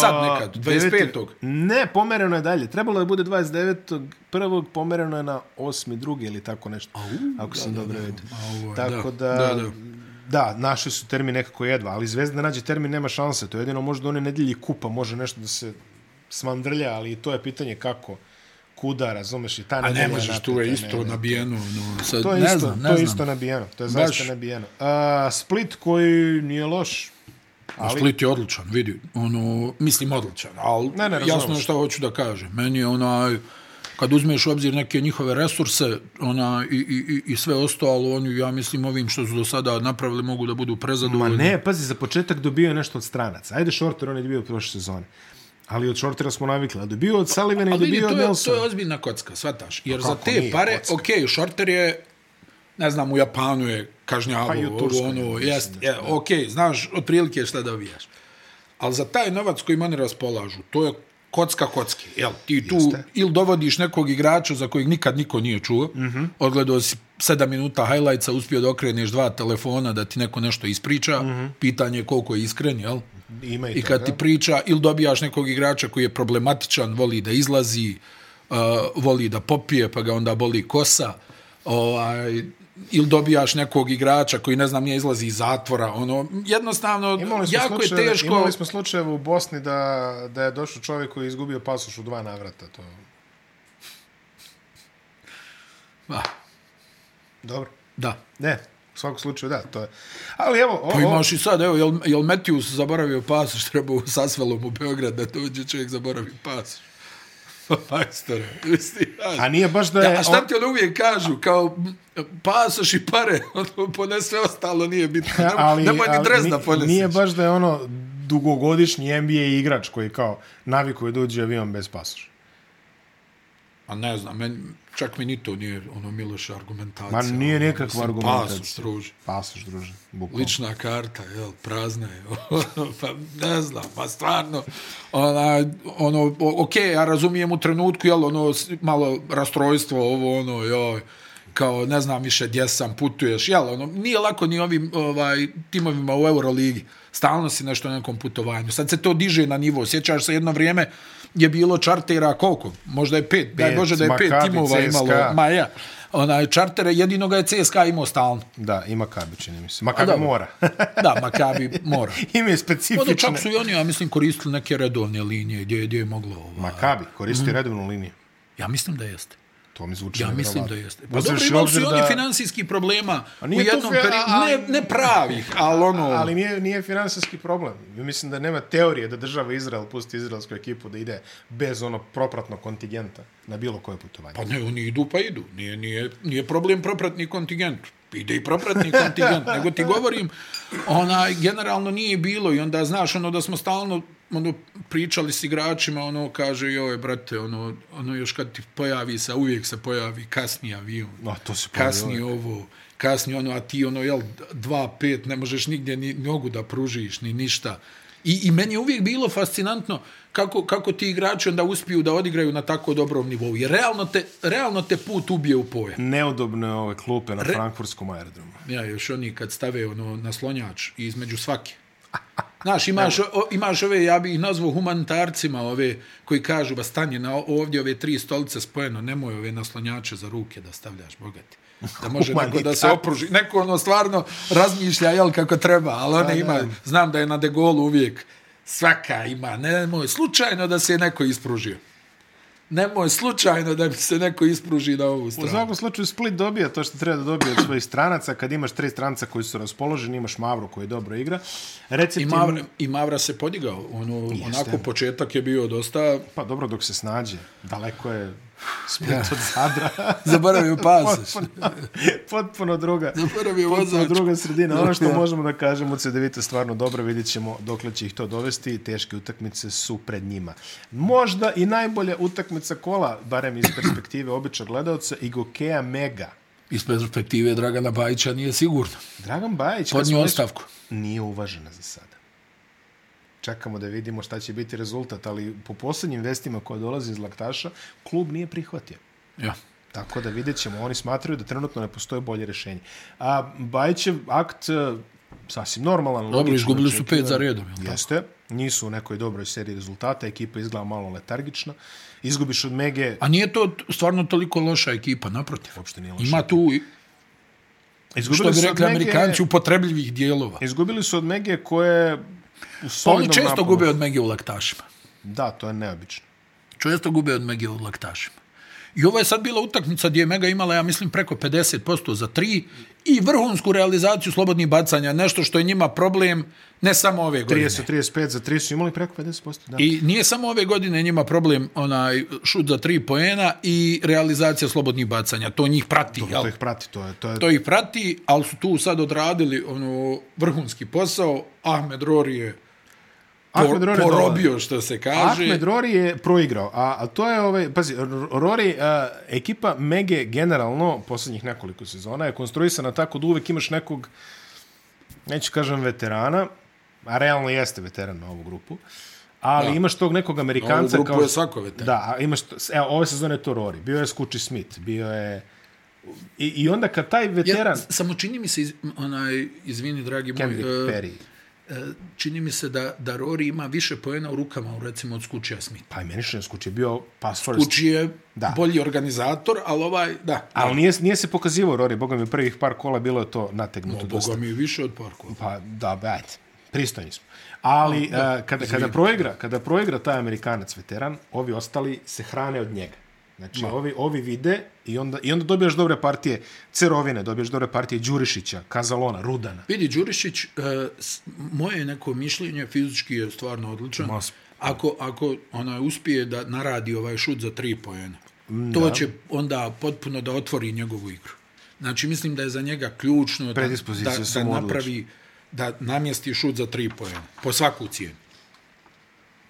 S2: Sad nekad, 25.
S1: Ne, pomereno je dalje. Trebalo je bude 29. prvog, pomereno je na 8. drugi ili tako nešto. ako sam dobro vidio.
S2: Au, da.
S1: Tako da,
S2: Da, da.
S1: da, naši su termin nekako jedva, ali Zvezda nađe termin, nema šanse. To je jedino možda one nedelji kupa, može nešto da se smandrlja, ali i to je pitanje kako, kuda, razumeš, i ta
S2: A
S1: nedelja...
S2: ne možeš, tu je
S1: napeta,
S2: isto
S1: ne, ne.
S2: nabijeno. No, sad,
S1: To je,
S2: ne
S1: isto,
S2: znam,
S1: to
S2: ne
S1: je
S2: znam.
S1: isto nabijeno. To je
S2: Baš.
S1: zaista nabijeno. A, Split koji nije loš,
S2: Ali... Split je odličan, vidi, ono, mislim odličan, ali
S1: Ne, ne, razumem
S2: jasno je
S1: se.
S2: šta hoću da kažem. Meni je onaj, kad uzmeš u obzir neke njihove resurse ona, i, i, i- i sve ostalo, oni, ja mislim, ovim što su do sada napravili mogu da budu
S1: Ma
S2: prezadovoljni.
S1: ne, pazi, za početak dobio je nešto od stranaca. Ajde, Shorter, on je dobio od prošle sezone. Ali od Shortera smo navikli. A dobio od Sullivana i
S2: Ali vidi,
S1: dobio od
S2: to je, to je
S1: Nelsona.
S2: ozbiljna kocka, shvataš. Jer
S1: Pa kako
S2: za te
S1: nije
S2: pare,
S1: kocka?
S2: okej, okay, Shorter je, ne znam, u Japanu je kažnjavo,
S1: Pa i u
S2: ovo,
S1: Turskoj, ja
S2: ono,
S1: mislim
S2: jest,
S1: da
S2: je, okej, okay, znaš, otprilike šta dobijaš. Ali za taj novac kojim oni raspolažu, to je kocka kocki, jel? Ti tu Jeste. ili dovodiš nekog igrača za kojeg nikad niko nije čuo, mm
S1: Mhm.
S2: -hmm. odgledao si 7 minuta highlightsa, uspio da okreneš dva telefona da ti neko nešto ispriča, mm
S1: Mhm.
S2: -hmm. pitanje je koliko je iskren, jel?
S1: Ima i,
S2: I kad ti
S1: toga.
S2: priča, ili dobijaš nekog igrača koji je problematičan, voli da izlazi, uh, voli da popije, pa ga onda boli kosa, ovaj, ili dobijaš nekog igrača koji, ne znam, nije izlazi iz zatvora, ono, jednostavno,
S1: Imali smo,
S2: jako je
S1: slučajeve,
S2: teško.
S1: imali smo slučajeve u Bosni da, da je došao čovjek koji je izgubio pasoš u dva navrata. To...
S2: Ah,
S1: Dobro.
S2: da.
S1: Ne, u svakom slučaju da, to je. Ali evo, o,
S2: Pa
S1: o,
S2: imaš i sad, evo, jel, jel Matthews zaboravio pasoš, trebao sa Asvelom u Beograd da dođe čovjek zaboravi pasoš. Majstore, misli, ja,
S1: a nije baš da je...
S2: Da, a šta
S1: on-
S2: ti ono uvijek kažu, kao m, pasoš i pare, ono ponese sve ostalo, nije bitno. Ne,
S1: ali,
S2: nemoj ni
S1: ali
S2: dres
S1: ni-
S2: da poneseš.
S1: Nije baš da je ono dugogodišnji NBA igrač koji kao navikuje da uđe u avion bez pasoša.
S2: A ne znam, men, čak mi ni to nije ono Miloš argumentacija.
S1: Ma nije
S2: ono,
S1: nikakva
S2: mislim,
S1: argumentacija.
S2: Pasoš, druže.
S1: Pasoš, druže, bukvalno.
S2: Lična karta, jel, prazna je. ono, pa ne znam, pa stvarno. Ona, ono, o- okej, ja razumijem u trenutku, jel, ono, s- malo rastrojstvo, ovo, ono, joj, kao, ne znam više gdje sam, putuješ, jel, ono, nije lako ni ovim ovaj, timovima u Euroligi. Stalno si nešto na nekom putovanju. Sad se to diže na nivo. Sjećaš se jedno vrijeme je bilo čartera koliko? Možda je pet. Daj
S1: Pet,
S2: Bože da je pet
S1: Maccabi,
S2: timova imalo.
S1: CSKA.
S2: Ma ja. Onaj, čartere, jedino ga je CSKA imao stalno.
S1: Da, ima Kabi, čini mi se. Makabi
S2: dobro.
S1: mora.
S2: Da, Makabi mora.
S1: Ime je
S2: Ono
S1: specifično.
S2: čak su i oni, ja mislim, koristili neke redovne linije gdje, je- gdje je moglo ova.
S1: Makabi koristi mm. redovnu liniju.
S2: Ja mislim da jeste.
S1: To mi zvuči
S2: Ja mislim da
S1: je.
S2: jeste. Pa
S1: Uzevši
S2: dobro, imali su
S1: obzir
S2: i oni
S1: da-
S2: finansijskih problema u
S1: nije to
S2: jednom
S1: fe-
S2: periodu.
S1: ali-
S2: Ne, ne pravih, ali ono...
S1: Ali nije, nije finansijski problem. Ja Mislim da nema teorije da država Izrael pusti izraelsku ekipu da ide bez ono propratnog kontingenta na bilo koje putovanje.
S2: Pa ne, oni idu pa idu. Nije, nije, nije problem propratni kontingent. Ide i propratni kontingent. Nego ti govorim, ona, generalno nije bilo i onda znaš ono da smo stalno ono, pričali s igračima, ono kaže, joj, brate, ono, ono još kad ti pojavi se, a uvijek se pojavi kasni avion.
S1: No, to se pojavi
S2: kasni ovo, kasni ono, a ti ono, jel, dva, pet, ne možeš nigdje ni nogu da pružiš, ni ništa. I, I meni je uvijek bilo fascinantno kako, kako ti igrači onda uspiju da odigraju na tako dobrom nivou. Jer realno te, realno te put ubije u pojam.
S1: Neudobne ove klupe na Re... Frankfurskom aerodromu.
S2: Ja, još oni kad stave ono naslonjač između svake. Znaš, imaš, o, imaš ove, ja bi ih nazvao humanitarcima, ove koji kažu, ba stanje na o- ovdje ove tri stolice spojeno, nemoj ove naslonjače za ruke da stavljaš, bogati. Da može neko da se
S1: Humanitarci.
S2: opruži. Neko ono stvarno razmišlja, jel, kako treba, ali one ima, znam da je na degolu uvijek svaka ima, nemoj, slučajno da se je neko ispružio. Nemoj, slučajno da mi se neko ispruži na ovu
S1: U
S2: stranu.
S1: svakom slučaju Split dobija to što treba da dobije od svojih stranaca. Kad imaš tri stranca koji su raspoloženi, imaš Mavru koji dobro igra. Recept
S2: I
S1: je-
S2: Mavra, I Mavra se podigao. Ono, onako početak je bio dosta...
S1: Pa dobro, dok se snađe. Daleko je Split od Zadra.
S2: Zaboravio pasoš.
S1: potpuno druga.
S2: Zaboravio
S1: Potpuno
S2: vozač.
S1: druga sredina. Ono što
S2: Ja.
S1: možemo da kažemo od CDVita stvarno dobro, vidjet ćemo dokle će ih to dovesti. Teške utakmice su pred njima. Možda i najbolja utakmica kola, barem iz perspektive običa gledalca, i Gokeja Mega.
S2: Iz perspektive Dragana Bajića nije sigurno.
S1: Dragan Bajić kad
S2: Podnio
S1: smo već-
S2: ostavku.
S1: nije uvažena za sada. Čekamo da vidimo šta će biti rezultat, ali po posljednjim vestima koje dolaze iz Laktaša, klub nije prihvatio.
S2: Ja.
S1: Tako da vidjet ćemo, oni smatraju da trenutno ne postoje bolje rješenje. A Bajićev akt e, sasvim normalan.
S2: Dobro,
S1: logično
S2: izgubili su
S1: očekivan.
S2: pet za redom. jel tako?
S1: Jeste. Nisu u nekoj dobroj seriji rezultata, ekipa izgleda malo letargična. Izgubiš od Mege,
S2: A nije to t- stvarno toliko loša ekipa, naprotiv.
S1: uopšte nije loša.
S2: Ima tu, i- što
S1: Izgubili
S2: bi
S1: su od
S2: rekli
S1: Mege-
S2: amerikanci, upotrebljivih dijelova.
S1: Izgubili su od Mege koje je u
S2: Pa oni
S1: solidnom
S2: često
S1: napadu-
S2: gube od Mege u laktašima.
S1: Da, to je neobično.
S2: Često gube od Mege u laktašima. I ovo je sad bila utakmica gdje je Mega imala, ja mislim, preko 50% za tri i vrhunsku realizaciju slobodnih bacanja, nešto što je njima problem ne samo ove godine.
S1: 30, 35 za 3 su imali preko 50%. Da.
S2: I nije samo ove godine njima problem onaj šut za tri poena i realizacija slobodnih bacanja. To njih prati, jel?
S1: To ih prati, to je, to je
S2: To ih prati, ali su tu sad odradili ono vrhunski posao. Ahmed Rori je por,
S1: Ahmed Rory je
S2: porobio, što se kaže.
S1: Ahmed Rory je proigrao, a, a to je, ovaj, pazi, R- Rory, a, ekipa Mege generalno posljednjih nekoliko sezona je konstruisana tako da uvek imaš nekog, neću kažem veterana, a realno jeste veteran na ovu grupu, ali imaš tog nekog Amerikanca.
S2: Na ovu grupu je svako veteran.
S1: Da, a imaš, t- evo, ove sezone je to Rory, bio je Skuči Smith, bio je... I, I onda kad taj veteran...
S2: Ja, samo čini mi se, iz, onaj, izvini, dragi moj,
S1: Kendrick
S2: e,
S1: Perry.
S2: e, čini mi se da, da Rory ima više poena u rukama, recimo, od Skučija Smitha.
S1: Pa i meni što je Skuči je bio pass first.
S2: Skuči je
S1: Da.
S2: bolji organizator, ali ovaj, da.
S1: Ali nije, nije se pokazivao Rory, boga mi prvih par kola bilo je to nategnuto. dosta.
S2: Boga mi je više od parkova.
S1: Pa da, ba, ajde, pristojni smo. Ali uh, kada, kada, proigra, kada proigra taj Amerikanac veteran, ovi ostali se hrane od njega. Znači, ovi, ovi vide i onda, i onda dobijaš dobre partije Cerovine, dobijaš dobre partije Đurišića, Kazalona, Rudana.
S2: Vidi, Đurišić, e, s- moje neko mišljenje, fizički je stvarno odličan.
S1: Mas-
S2: Ako, ako ona uspije da naradi ovaj šut za tri pojena,
S1: Mm,
S2: to će onda potpuno da otvori njegovu igru. Znači, mislim da je za njega ključno da,
S1: Predispozicije
S2: da,
S1: su
S2: da
S1: mu odlične.
S2: napravi, da namjesti šut za tri pojena, po svaku cijenu.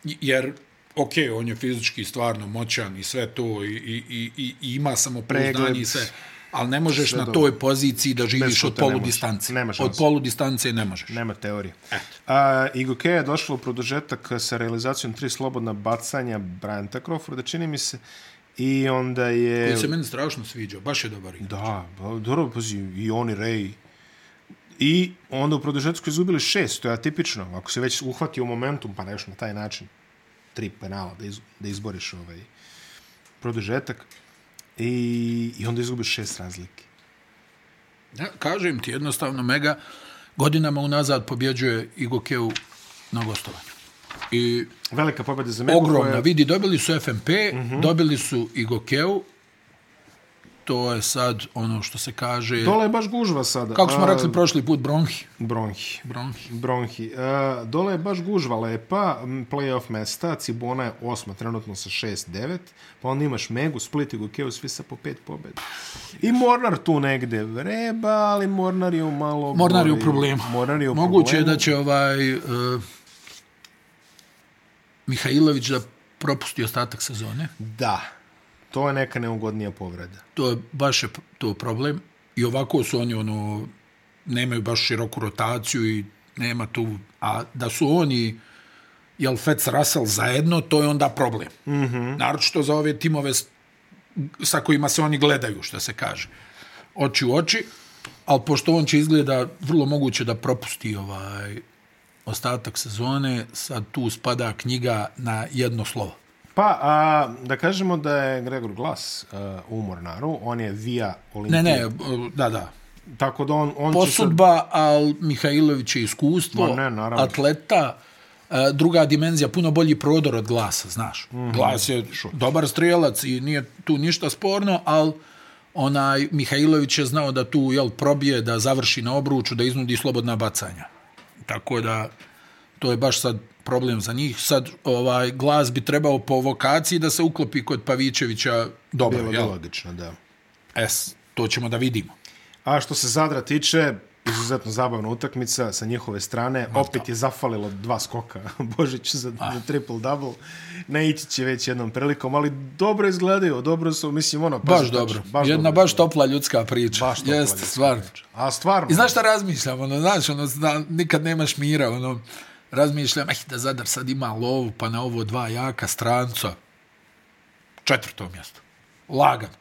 S2: J- Jer, ok, on je fizički stvarno moćan i sve to, i, i, i, i- i ima samopouzdanje i
S1: Pregled.
S2: sve, ali ne možeš
S1: Sve
S2: na
S1: dobro.
S2: toj poziciji da živiš od
S1: šuta ne
S2: polu
S1: možeš.
S2: distance.
S1: Nema šanse.
S2: Od polu distance ne možeš.
S1: Nema teorije. A, Igoke je došlo u produžetak sa realizacijom tri slobodna bacanja Bryanta Crawforda, čini mi se. I onda je...
S2: Koji se meni strašno sviđa, baš je dobar igrač.
S1: Da, pa, dobro, pazi, i oni Ray. I onda u produžetku izgubili šest, to je atipično. Ako se već uhvati u momentum, pa nešto na taj način, tri penala da, iz, da izboriš ovaj produžetak. I, I onda izgubiš šest razlike.
S2: Ja, kažem ti, jednostavno Mega godinama unazad pobjeđuje Igokeu na gostovanju. I
S1: Velika pobjeda za Megu.
S2: ogromna,
S1: koja- Mhm.
S2: vidi, dobili su FMP, dobili su Igokeu, to je sad ono što se kaže,
S1: Dole je baš gužva sada.
S2: kako smo
S1: A,
S2: rekli prošli put, bronhi.
S1: Bronhi.
S2: bronhi.
S1: Bronhi. E, dole je baš gužva lepa, m, playoff mesta, Cibona je osma, trenutno sa 6-9, pa onda imaš Megu, Split i Gokeu, svi sa po pet pobjeda. I Mornar tu negde vreba, ali Mornar je u malo...
S2: Mornar je u
S1: gori-
S2: problemu.
S1: Mornar je u
S2: Moguće je
S1: problemu.
S2: da će ovaj uh, Mihajlović da propusti ostatak sezone.
S1: Da, to je neka neugodnija povreda.
S2: to je baš je to problem i ovako su oni ono nemaju baš široku rotaciju i nema tu a da su oni jel Fetz Russell zajedno to je onda problem mm -hmm. naročito za ove timove s- sa kojima se oni gledaju što se kaže oči u oči ali pošto on će izgleda vrlo moguće da propusti ovaj ostatak sezone sad tu spada knjiga na jedno slovo
S1: Pa, a, da kažemo da je Gregor Glas a, u Mornaru, on je via
S2: ne
S1: Olimpije.
S2: ne da da
S1: Tako da on, on će sad...
S2: posudba, ali Mihajlović je iskustvo,
S1: Ma ne, naravno.
S2: atleta, e, druga dimenzija, puno bolji prodor od glasa, znaš.
S1: Mhm.
S2: Glas je dobar strijelac i nije tu ništa sporno, ali onaj Mihajlović je znao da tu jel, probije, da završi na obruču, da iznudi slobodna bacanja. Tako da to je baš sad problem za njih. Sad ovaj glas bi trebao po vokaciji da se uklopi kod Pavićevića dobro,
S1: Bilo bi
S2: jel?
S1: logično, da.
S2: Es, to ćemo da vidimo.
S1: A što se Zadra tiče, izuzetno zabavna utakmica sa njihove strane. Opet je zafalilo dva skoka Božiću za,
S2: Ah.
S1: za triple-double. Ne ići će već jednom prilikom, ali dobro izgledaju, dobro su, mislim, ono...
S2: Baš
S1: pazi,
S2: dobro.
S1: tačno,
S2: Baš Jedna
S1: dobro
S2: baš topla ljudska priča.
S1: Baš
S2: Baš
S1: topla
S2: topla Jeste,
S1: ljudska
S2: stvarno.
S1: izgledaju. A stvarno,
S2: I znaš šta razmišljam, ono, znaš, ono, da, nikad nemaš mira, ono, razmišljam, eh, da Zadar sad ima lovu, pa na ovo dva jaka stranca. Četvrto mjesto. Lagano.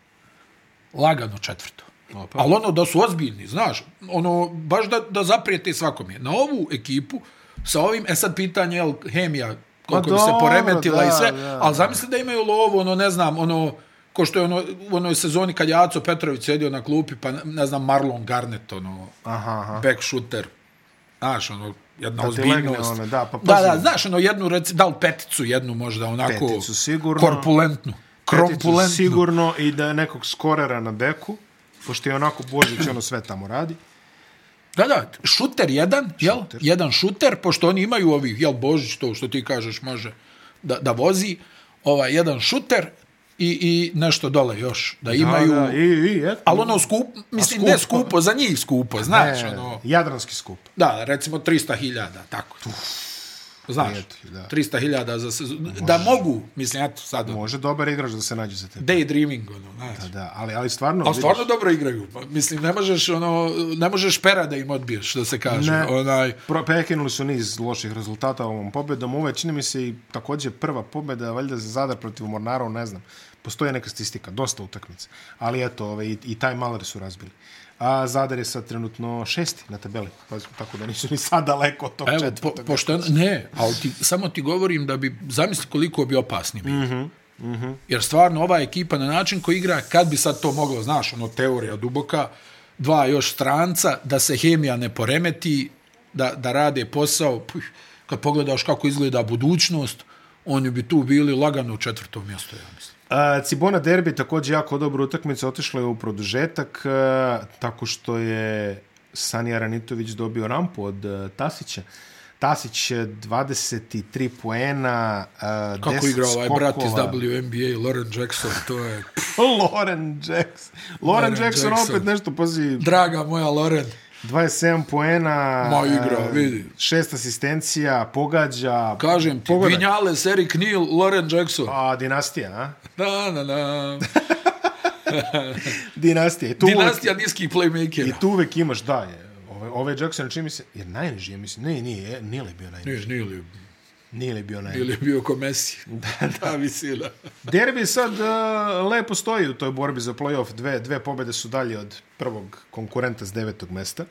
S2: Lagano četvrto.
S1: Opa.
S2: Ali ono da su ozbiljni, znaš, ono, baš da, da zaprijete svakom je. Na ovu ekipu, sa ovim, e sad pitanje, jel, hemija, koliko
S1: Ma
S2: bi se
S1: dobro,
S2: poremetila
S1: Pa da,
S2: i sve,
S1: da.
S2: ali zamisli da imaju lovu, ono, ne znam, ono, ko što je ono, u onoj sezoni kad je Aco Petrović sedio na klupi, pa ne znam, Marlon Garnett, ono,
S1: Aha, aha.
S2: back shooter, znaš, ono, jedna
S1: Da ti legne
S2: ozbiljnost.
S1: ono, da, pa
S2: da, da,
S1: pazi.
S2: znaš, ono, jednu, reci, da li peticu, jednu možda, onako,
S1: Peticu sigurno.
S2: korpulentnu,
S1: Peticu
S2: krompulentnu.
S1: sigurno i da nekog skorera na beku, pošto je onako Božić ono sve tamo radi.
S2: Da, da, šuter jedan, jel? Jedan šuter, pošto oni imaju ovih, jel, Božić, to što ti kažeš može da, da vozi, ovaj, jedan šuter i, i nešto dole još, da imaju...
S1: Da, da, i, i, eto.
S2: Ali ono skup, mislim,
S1: skupo?
S2: ne skupo, za njih skupo, znaš,
S1: E,
S2: ono...
S1: Jadranski skup.
S2: Da, recimo 300.000, tako. Znaš,
S1: prijatelj, da.
S2: 300.000 za sezon. Da mogu, mislim, eto, sad,
S1: Može dobar igrač da se nađe za tebe.
S2: daydreaming, ono, znaš.
S1: Da, ali, ali stvarno...
S2: A
S1: vidiš-
S2: stvarno dobro igraju. Pa, Mislim, ne možeš, ono, ne možeš pera da im odbiješ, da se kaže.
S1: Ne.
S2: Onaj,
S1: Pro, prekinuli su niz loših rezultata ovom pobedom. Ovo je, čini mi se, i također prva pobeda, valjda za Zadar protiv Mornarov, ne znam. Postoje neka statistika, dosta utakmica. Ali eto, ove, i, i taj maler su razbili. A Zadar je sad trenutno šesti na tabeli, pa, tako da nisu ni sad daleko od tog
S2: Pa Evo, po,
S1: četvrtog.
S2: pošto, je- ne, ali ti, samo ti govorim da bi, zamisli koliko bi opasni bili. Mm -hmm.
S1: Mhm,
S2: Mm -hmm. Jer stvarno ova ekipa na način koji igra, kad bi sad to moglo, znaš, ono, teorija duboka, dva još stranca, da se hemija ne poremeti, da, da rade posao, puh, kad pogledaš kako izgleda budućnost, oni bi tu bili lagano u četvrtom mjestu, ja mislim.
S1: A, Cibona derbi također jako dobra utakmica otišla je u produžetak a, tako što je Sanja Ranitović dobio rampu od a, Tasića. Tasić e, 23 poena, a,
S2: Kako
S1: 10
S2: igra ovaj brat iz
S1: skokova.
S2: WNBA, Lauren Jackson, to je, pff,
S1: Loren Jackson. Loren
S2: Loren
S1: Jackson,
S2: Jackson.
S1: opet nešto, pazi,
S2: draga moja Lauren,
S1: 27 poena,
S2: Ma, igra,
S1: e,
S2: vidi.
S1: šest asistencija, pogađa.
S2: kažem ti,
S1: Pogledaj.
S2: Vinjales, Eric Neal, Lauren Jackson.
S1: A, dinastija, a?
S2: Da, da, da.
S1: Dinastija. I tu uvek-
S2: Dinastija niskih playmakera.
S1: I tu uvek imaš, da, je, ove, ove Jackson, čini mi se, jer najniži je, mislim, ne, nije, je, nije li bio najniži,
S2: Nije, nije li,
S1: nije li bio najniži.
S2: ili je bio ko Messi. Da, da. visila.
S1: Derbi sad uh, lepo stoji u toj borbi za play-off, dve, dve pobede su dalje od prvog konkurenta s devetog mesta.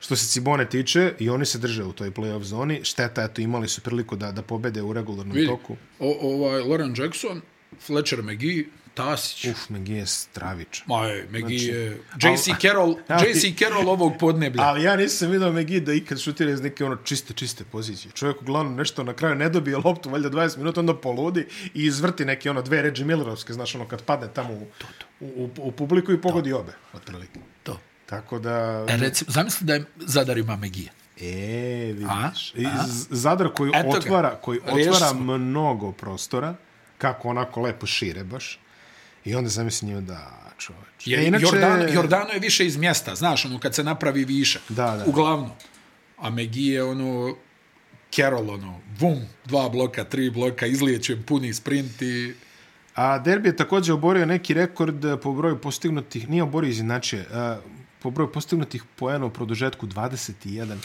S1: Što se Cibone tiče, i oni se drže u toj play-off zoni, šteta, eto, imali su priliku da, da pobede u regularnom
S2: Vidi,
S1: toku.
S2: o, ovaj, Lauren Jackson, Fletcher McGee, Tasić. Uf.
S1: Uf, Megi je stravičan.
S2: Ma je, McGee je... J.C. Carroll,
S1: ali-
S2: J.C. Carroll ovog podneblja.
S1: Ali ja nisam vidio Megi da ikad šutira iz neke ono čiste, čiste pozicije. Čovjek uglavnom nešto na kraju ne dobije loptu, valjda 20 minuta, onda poludi i izvrti neke ono dve Reggie Millerovske, znaš ono kad padne tamo u, u, u, u publiku i pogodi obe, otprilike.
S2: to.
S1: Tako da...
S2: E, recimo, zamisli da je Zadar ima McGee.
S1: E, vidiš.
S2: A?
S1: I Z- Zadar koji
S2: Eto ga.
S1: otvara, koji
S2: Riješili
S1: otvara
S2: smo.
S1: mnogo prostora, kako onako lepo šire baš. I onda zamisli njima da, čoveč.
S2: Je, inače... Jordan, Jordano je više iz mjesta, znaš, ono, kad se napravi višak.
S1: Da, da.
S2: Uglavnom. A McGee je ono... Carroll, ono, bum, dva bloka, tri bloka, izliječen puni sprint i...
S1: A Derbi je također oborio neki rekord eh, po broju postignutih, nije oborio izinače, po broju postignutih poena u produžetku 21.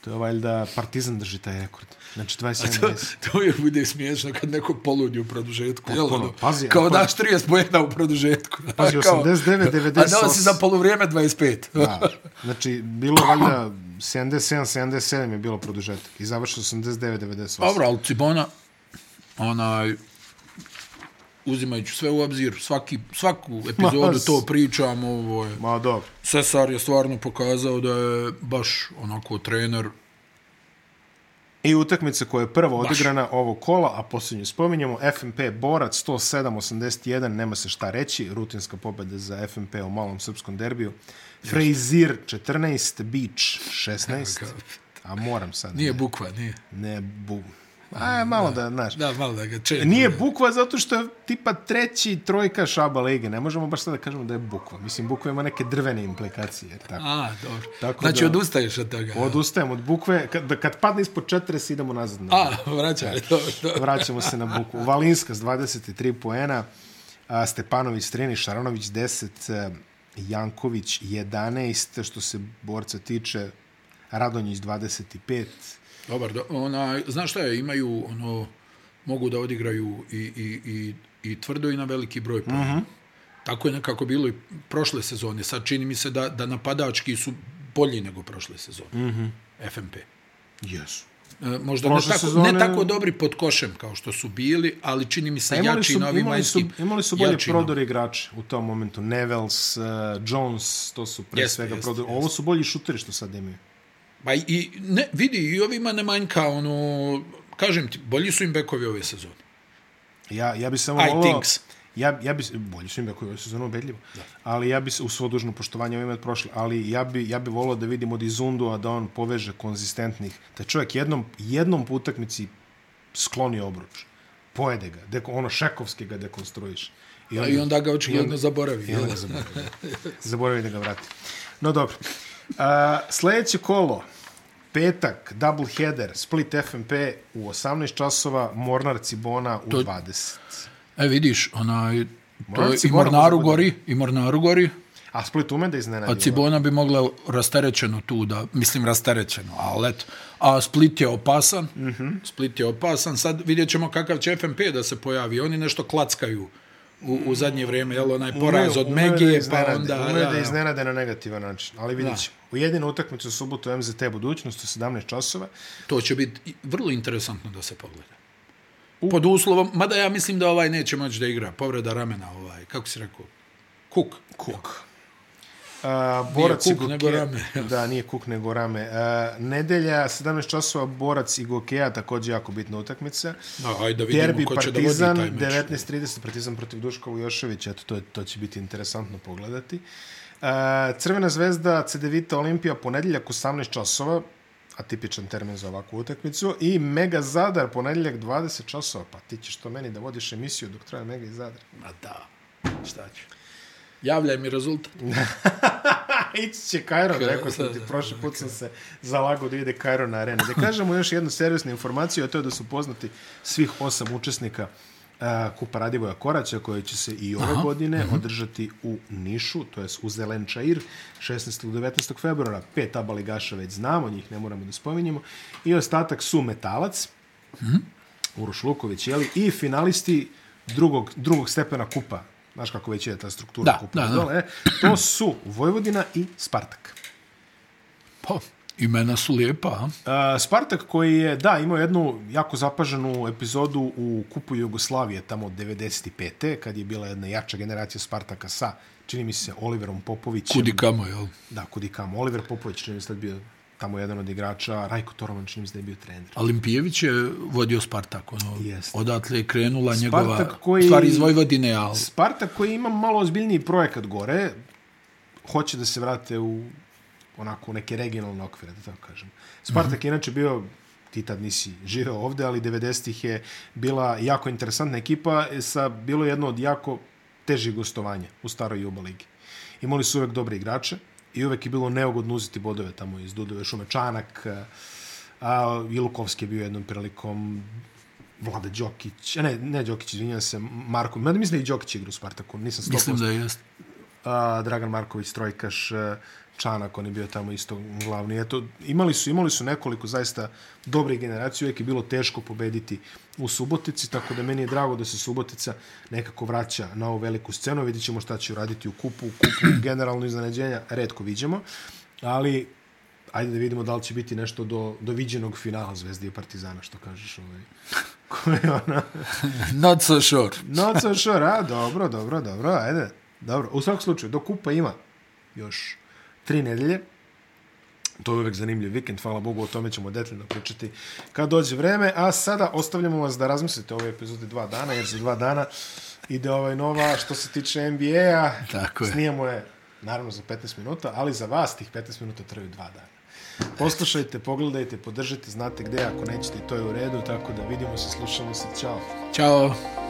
S1: To je valjda Partizan drži taj rekord. Znači 27
S2: To,
S1: 20.
S2: to uvijek bude smiješno kad neko poludi u produžetku. Jel,
S1: Potpuno,
S2: ono,
S1: pazi,
S2: kao
S1: ako-
S2: daš 30 pojena u produžetku.
S1: Pazi,
S2: A kao-
S1: 89,
S2: A dao si za polovrijeme 25.
S1: Da. Znači, bilo je valjda 77-77 je bilo produžetak i završilo 89-98.
S2: Dobro, ali Cibona, onaj, uzimajući sve u obzir, svaki, svaku epizodu
S1: Ma, s-
S2: to pričam, ovo je.
S1: Ma dobro.
S2: Cesar je stvarno pokazao da je baš onako trener
S1: I utakmica koja je prva odigrana ovog kola, a posljednju spominjamo, FNP Borac 107-81, nema se šta reći, rutinska pobjeda za FNP u malom srpskom derbiju. Frejzir 14, Beach 16, a moram sad.
S2: nije bukva, nije.
S1: Ne, bu... A, malo da, znaš.
S2: Da, malo da ga četim.
S1: Nije bukva zato što je tipa treći trojka šaba lige. Ne možemo baš sad da kažemo da je bukva. Mislim, bukva ima neke drvene implikacije. Tako.
S2: A, dobro.
S1: Tako
S2: znači,
S1: da-
S2: odustaješ od toga.
S1: Odustajem od bukve. Kad, da kad padne ispod 40, idemo nazad na
S2: A, vraćaj, dobro, dobro.
S1: Vraćamo se na Buku. Valinska s 23 poena, a, Stepanović 13, Šaranović 10, e, Janković 11, što se borca tiče, Radonjić 25.
S2: Dobar, do, ona, znaš šta je, imaju
S1: Mhm.
S2: ono, mogu da odigraju i, i, i, i tvrdo i na veliki broj pojena. Mm -hmm. Tako je nekako bilo i prošle sezone. Sad čini mi se da, da napadački su bolji nego prošle sezone. Mm -hmm. FMP.
S1: Jesu.
S2: E, možda
S1: Mhm. Prošle
S2: ne tako,
S1: sezone-
S2: ne tako dobri pod košem kao što su bili, ali čini mi se
S1: A Pa Imali
S2: jači
S1: su,
S2: novi
S1: imali, su,
S2: vanjski.
S1: imali su bolje
S2: jači
S1: prodore igrače u tom momentu. Nevels, uh, Jones, to su pre
S2: Jeste,
S1: svega
S2: jeste,
S1: prodori.
S2: jeste.
S1: Ovo su bolji šuteri što sad imaju.
S2: Ba Pa i, ne, vidi, i ovima ne manjka, ono, kažem ti, bolji su im bekovi ove sezone.
S1: Ja, ja bi samo
S2: I
S1: volao-
S2: thinks.
S1: Ja, ja bi, bolje su im koji su zonu ubedljivo, ali ja bi se- u svo dužno poštovanje ovime od prošle, ali ja bi, ja bi volao da vidim od Izundua da on poveže konzistentnih, da čovjek jednom, jednom po utakmici skloni obruč, pojede ga, deko, ono šekovski ga dekonstruiš. I
S2: I onda ga očigledno zaboravi.
S1: I onda
S2: jel?
S1: ga zaboravi. zaboravi da ga vrati. No dobro. Uh, sljedeće kolo, petak, double header, Split FMP u 18 časova, Mornar Cibona u 20.
S2: E, vidiš, onaj, to je
S1: Mornarci
S2: i
S1: moramo
S2: Mornaru
S1: zabuditi.
S2: gori, i Mornaru gori,
S1: A Split ume da
S2: a
S1: iznenadio.
S2: Cibona bi mogla rastarećeno tu da, mislim rastarećeno, ali eto. A Split je opasan,
S1: Mhm.
S2: mm -hmm. Split je opasan, sad vidjet ćemo kakav će FMP da se pojavi, oni nešto klackaju u, u zadnje vrijeme, jel, onaj poraz od
S1: Umeju- umeju
S2: Megije,
S1: da
S2: pa
S1: iznenade,
S2: onda...
S1: Umeju
S2: da,
S1: da
S2: da.
S1: iznenade na negativan način, ali vidjet ćemo. U jedinu utakmicu u subotu MZT budućnost u 17 časova.
S2: To će biti i- vrlo interesantno da se pogleda. Pod uslovom, mada ja mislim da ovaj neće moći da igra, povreda ramena ovaj, kako si rekao, Kuk.
S1: Kuk. A, borac
S2: kuk,
S1: i Goke-
S2: nego rame.
S1: da, nije kuk, nego rame. A, nedelja, 17 časova, Borac i Gokeja, također jako bitna utakmica.
S2: Da, ajde da vidimo
S1: Derbi
S2: ko će
S1: Partizan,
S2: da vodi taj meč.
S1: 19.30, Partizan protiv Duškova Joševića, eto, to, je, to će biti interesantno pogledati. E, Crvena zvezda, Cedevita Olimpija, ponedjeljak 18 časova, atipičan termin za ovakvu utakmicu, i Mega Zadar, ponedjeljak 20 časova, pa ti ćeš to meni da vodiš emisiju dok traje Mega i Zadar.
S2: Ma da, šta ću. Javljaj mi rezultat.
S1: Ići će Kajron, rekao sam ti, prošli put sam se zalago da ide Kajron na arenu. Da kažemo još jednu servisnu informaciju, a to je da su poznati svih osam učesnika uh, Kupa Radivoja Koraća, koja će se i ove godine
S2: Mhm.
S1: održati u Nišu, to jest u Zelenčair, 16. do 19. februara. Pet abaligaša već znamo, njih ne moramo da spominjemo. I ostatak su Metalac, Uroš Luković, jeli, i finalisti drugog, drugog stepena kupa. Znaš kako već je ta struktura
S2: Da,
S1: kupa.
S2: da, da.
S1: dole, e? To su Vojvodina i Spartak.
S2: Pa, imena su lijepa, a?
S1: Uh, Spartak koji je, da, imao jednu jako zapaženu epizodu u Kupu Jugoslavije tamo od 95. kad je bila jedna jača generacija Spartaka sa, čini mi se, Oliverom Popovićem.
S2: Kudi kamo, jel?
S1: Da, kudi kamo. Oliver Popović, čini mi se, tad bio tamo jedan od igrača. Rajko Toroman, čini mi se da je bio trener.
S2: A Limpijević je vodio Spartak, ono,
S1: Jeste.
S2: odatle je krenula njegova,
S1: koji-
S2: koji... stvari iz Vojvodine, ali
S1: Spartak koji ima malo ozbiljniji projekat gore, hoće da se vrate u onako u neke regionalne okvire, da tako kažem. Spartak je inače bio ti tad nisi živeo ovde, ali 90-ih je bila jako interesantna ekipa sa bilo je jedno od jako težih gostovanja u staroj Juba ligi. Imali su uvek dobre igrače i uvek je bilo neugodno uzeti bodove tamo iz Dudove, Šume Čanak, a Ilukovski je bio jednom prilikom Vlada Đokić, a ne, ne Đokić, izvinjam se, Marko, mada mislim da je i Đokić igra u Spartaku, nisam 100%
S2: mislim da jeste.
S1: a, Dragan Marković, Trojkaš, e, Čanak, on je bio tamo isto glavni. Eto, imali su, imali su nekoliko zaista dobre generacije, uvijek je bilo teško pobediti u Subotici, tako da meni je drago da se Subotica nekako vraća na ovu veliku scenu. Vidjet ćemo šta će uraditi u kupu. U kupu generalno iznenađenja redko viđemo, ali ajde da vidimo da li će biti nešto do, do viđenog finala Zvezde i Partizana, što kažeš ovaj. Ko je ona?
S2: Not so sure.
S1: Not so sure, a? Dobro, dobro, dobro, ajde. Dobro, u svakom slučaju, do kupa ima još tri nedelje. To je uvek zanimljiv vikend, hvala Bogu, o tome ćemo detaljno pričati kad dođe vreme. A sada ostavljamo vas da razmislite o ovoj epizodi dva dana, jer za dva dana ide ovaj nova što se tiče NBA-a.
S2: Tako je.
S1: Snijemo je, naravno, za 15 minuta, ali za vas tih 15 minuta traju dva dana. Poslušajte, pogledajte, podržite, znate gde, ako nećete, to je u redu, tako da vidimo se, slušamo se, čao.
S2: Ćao.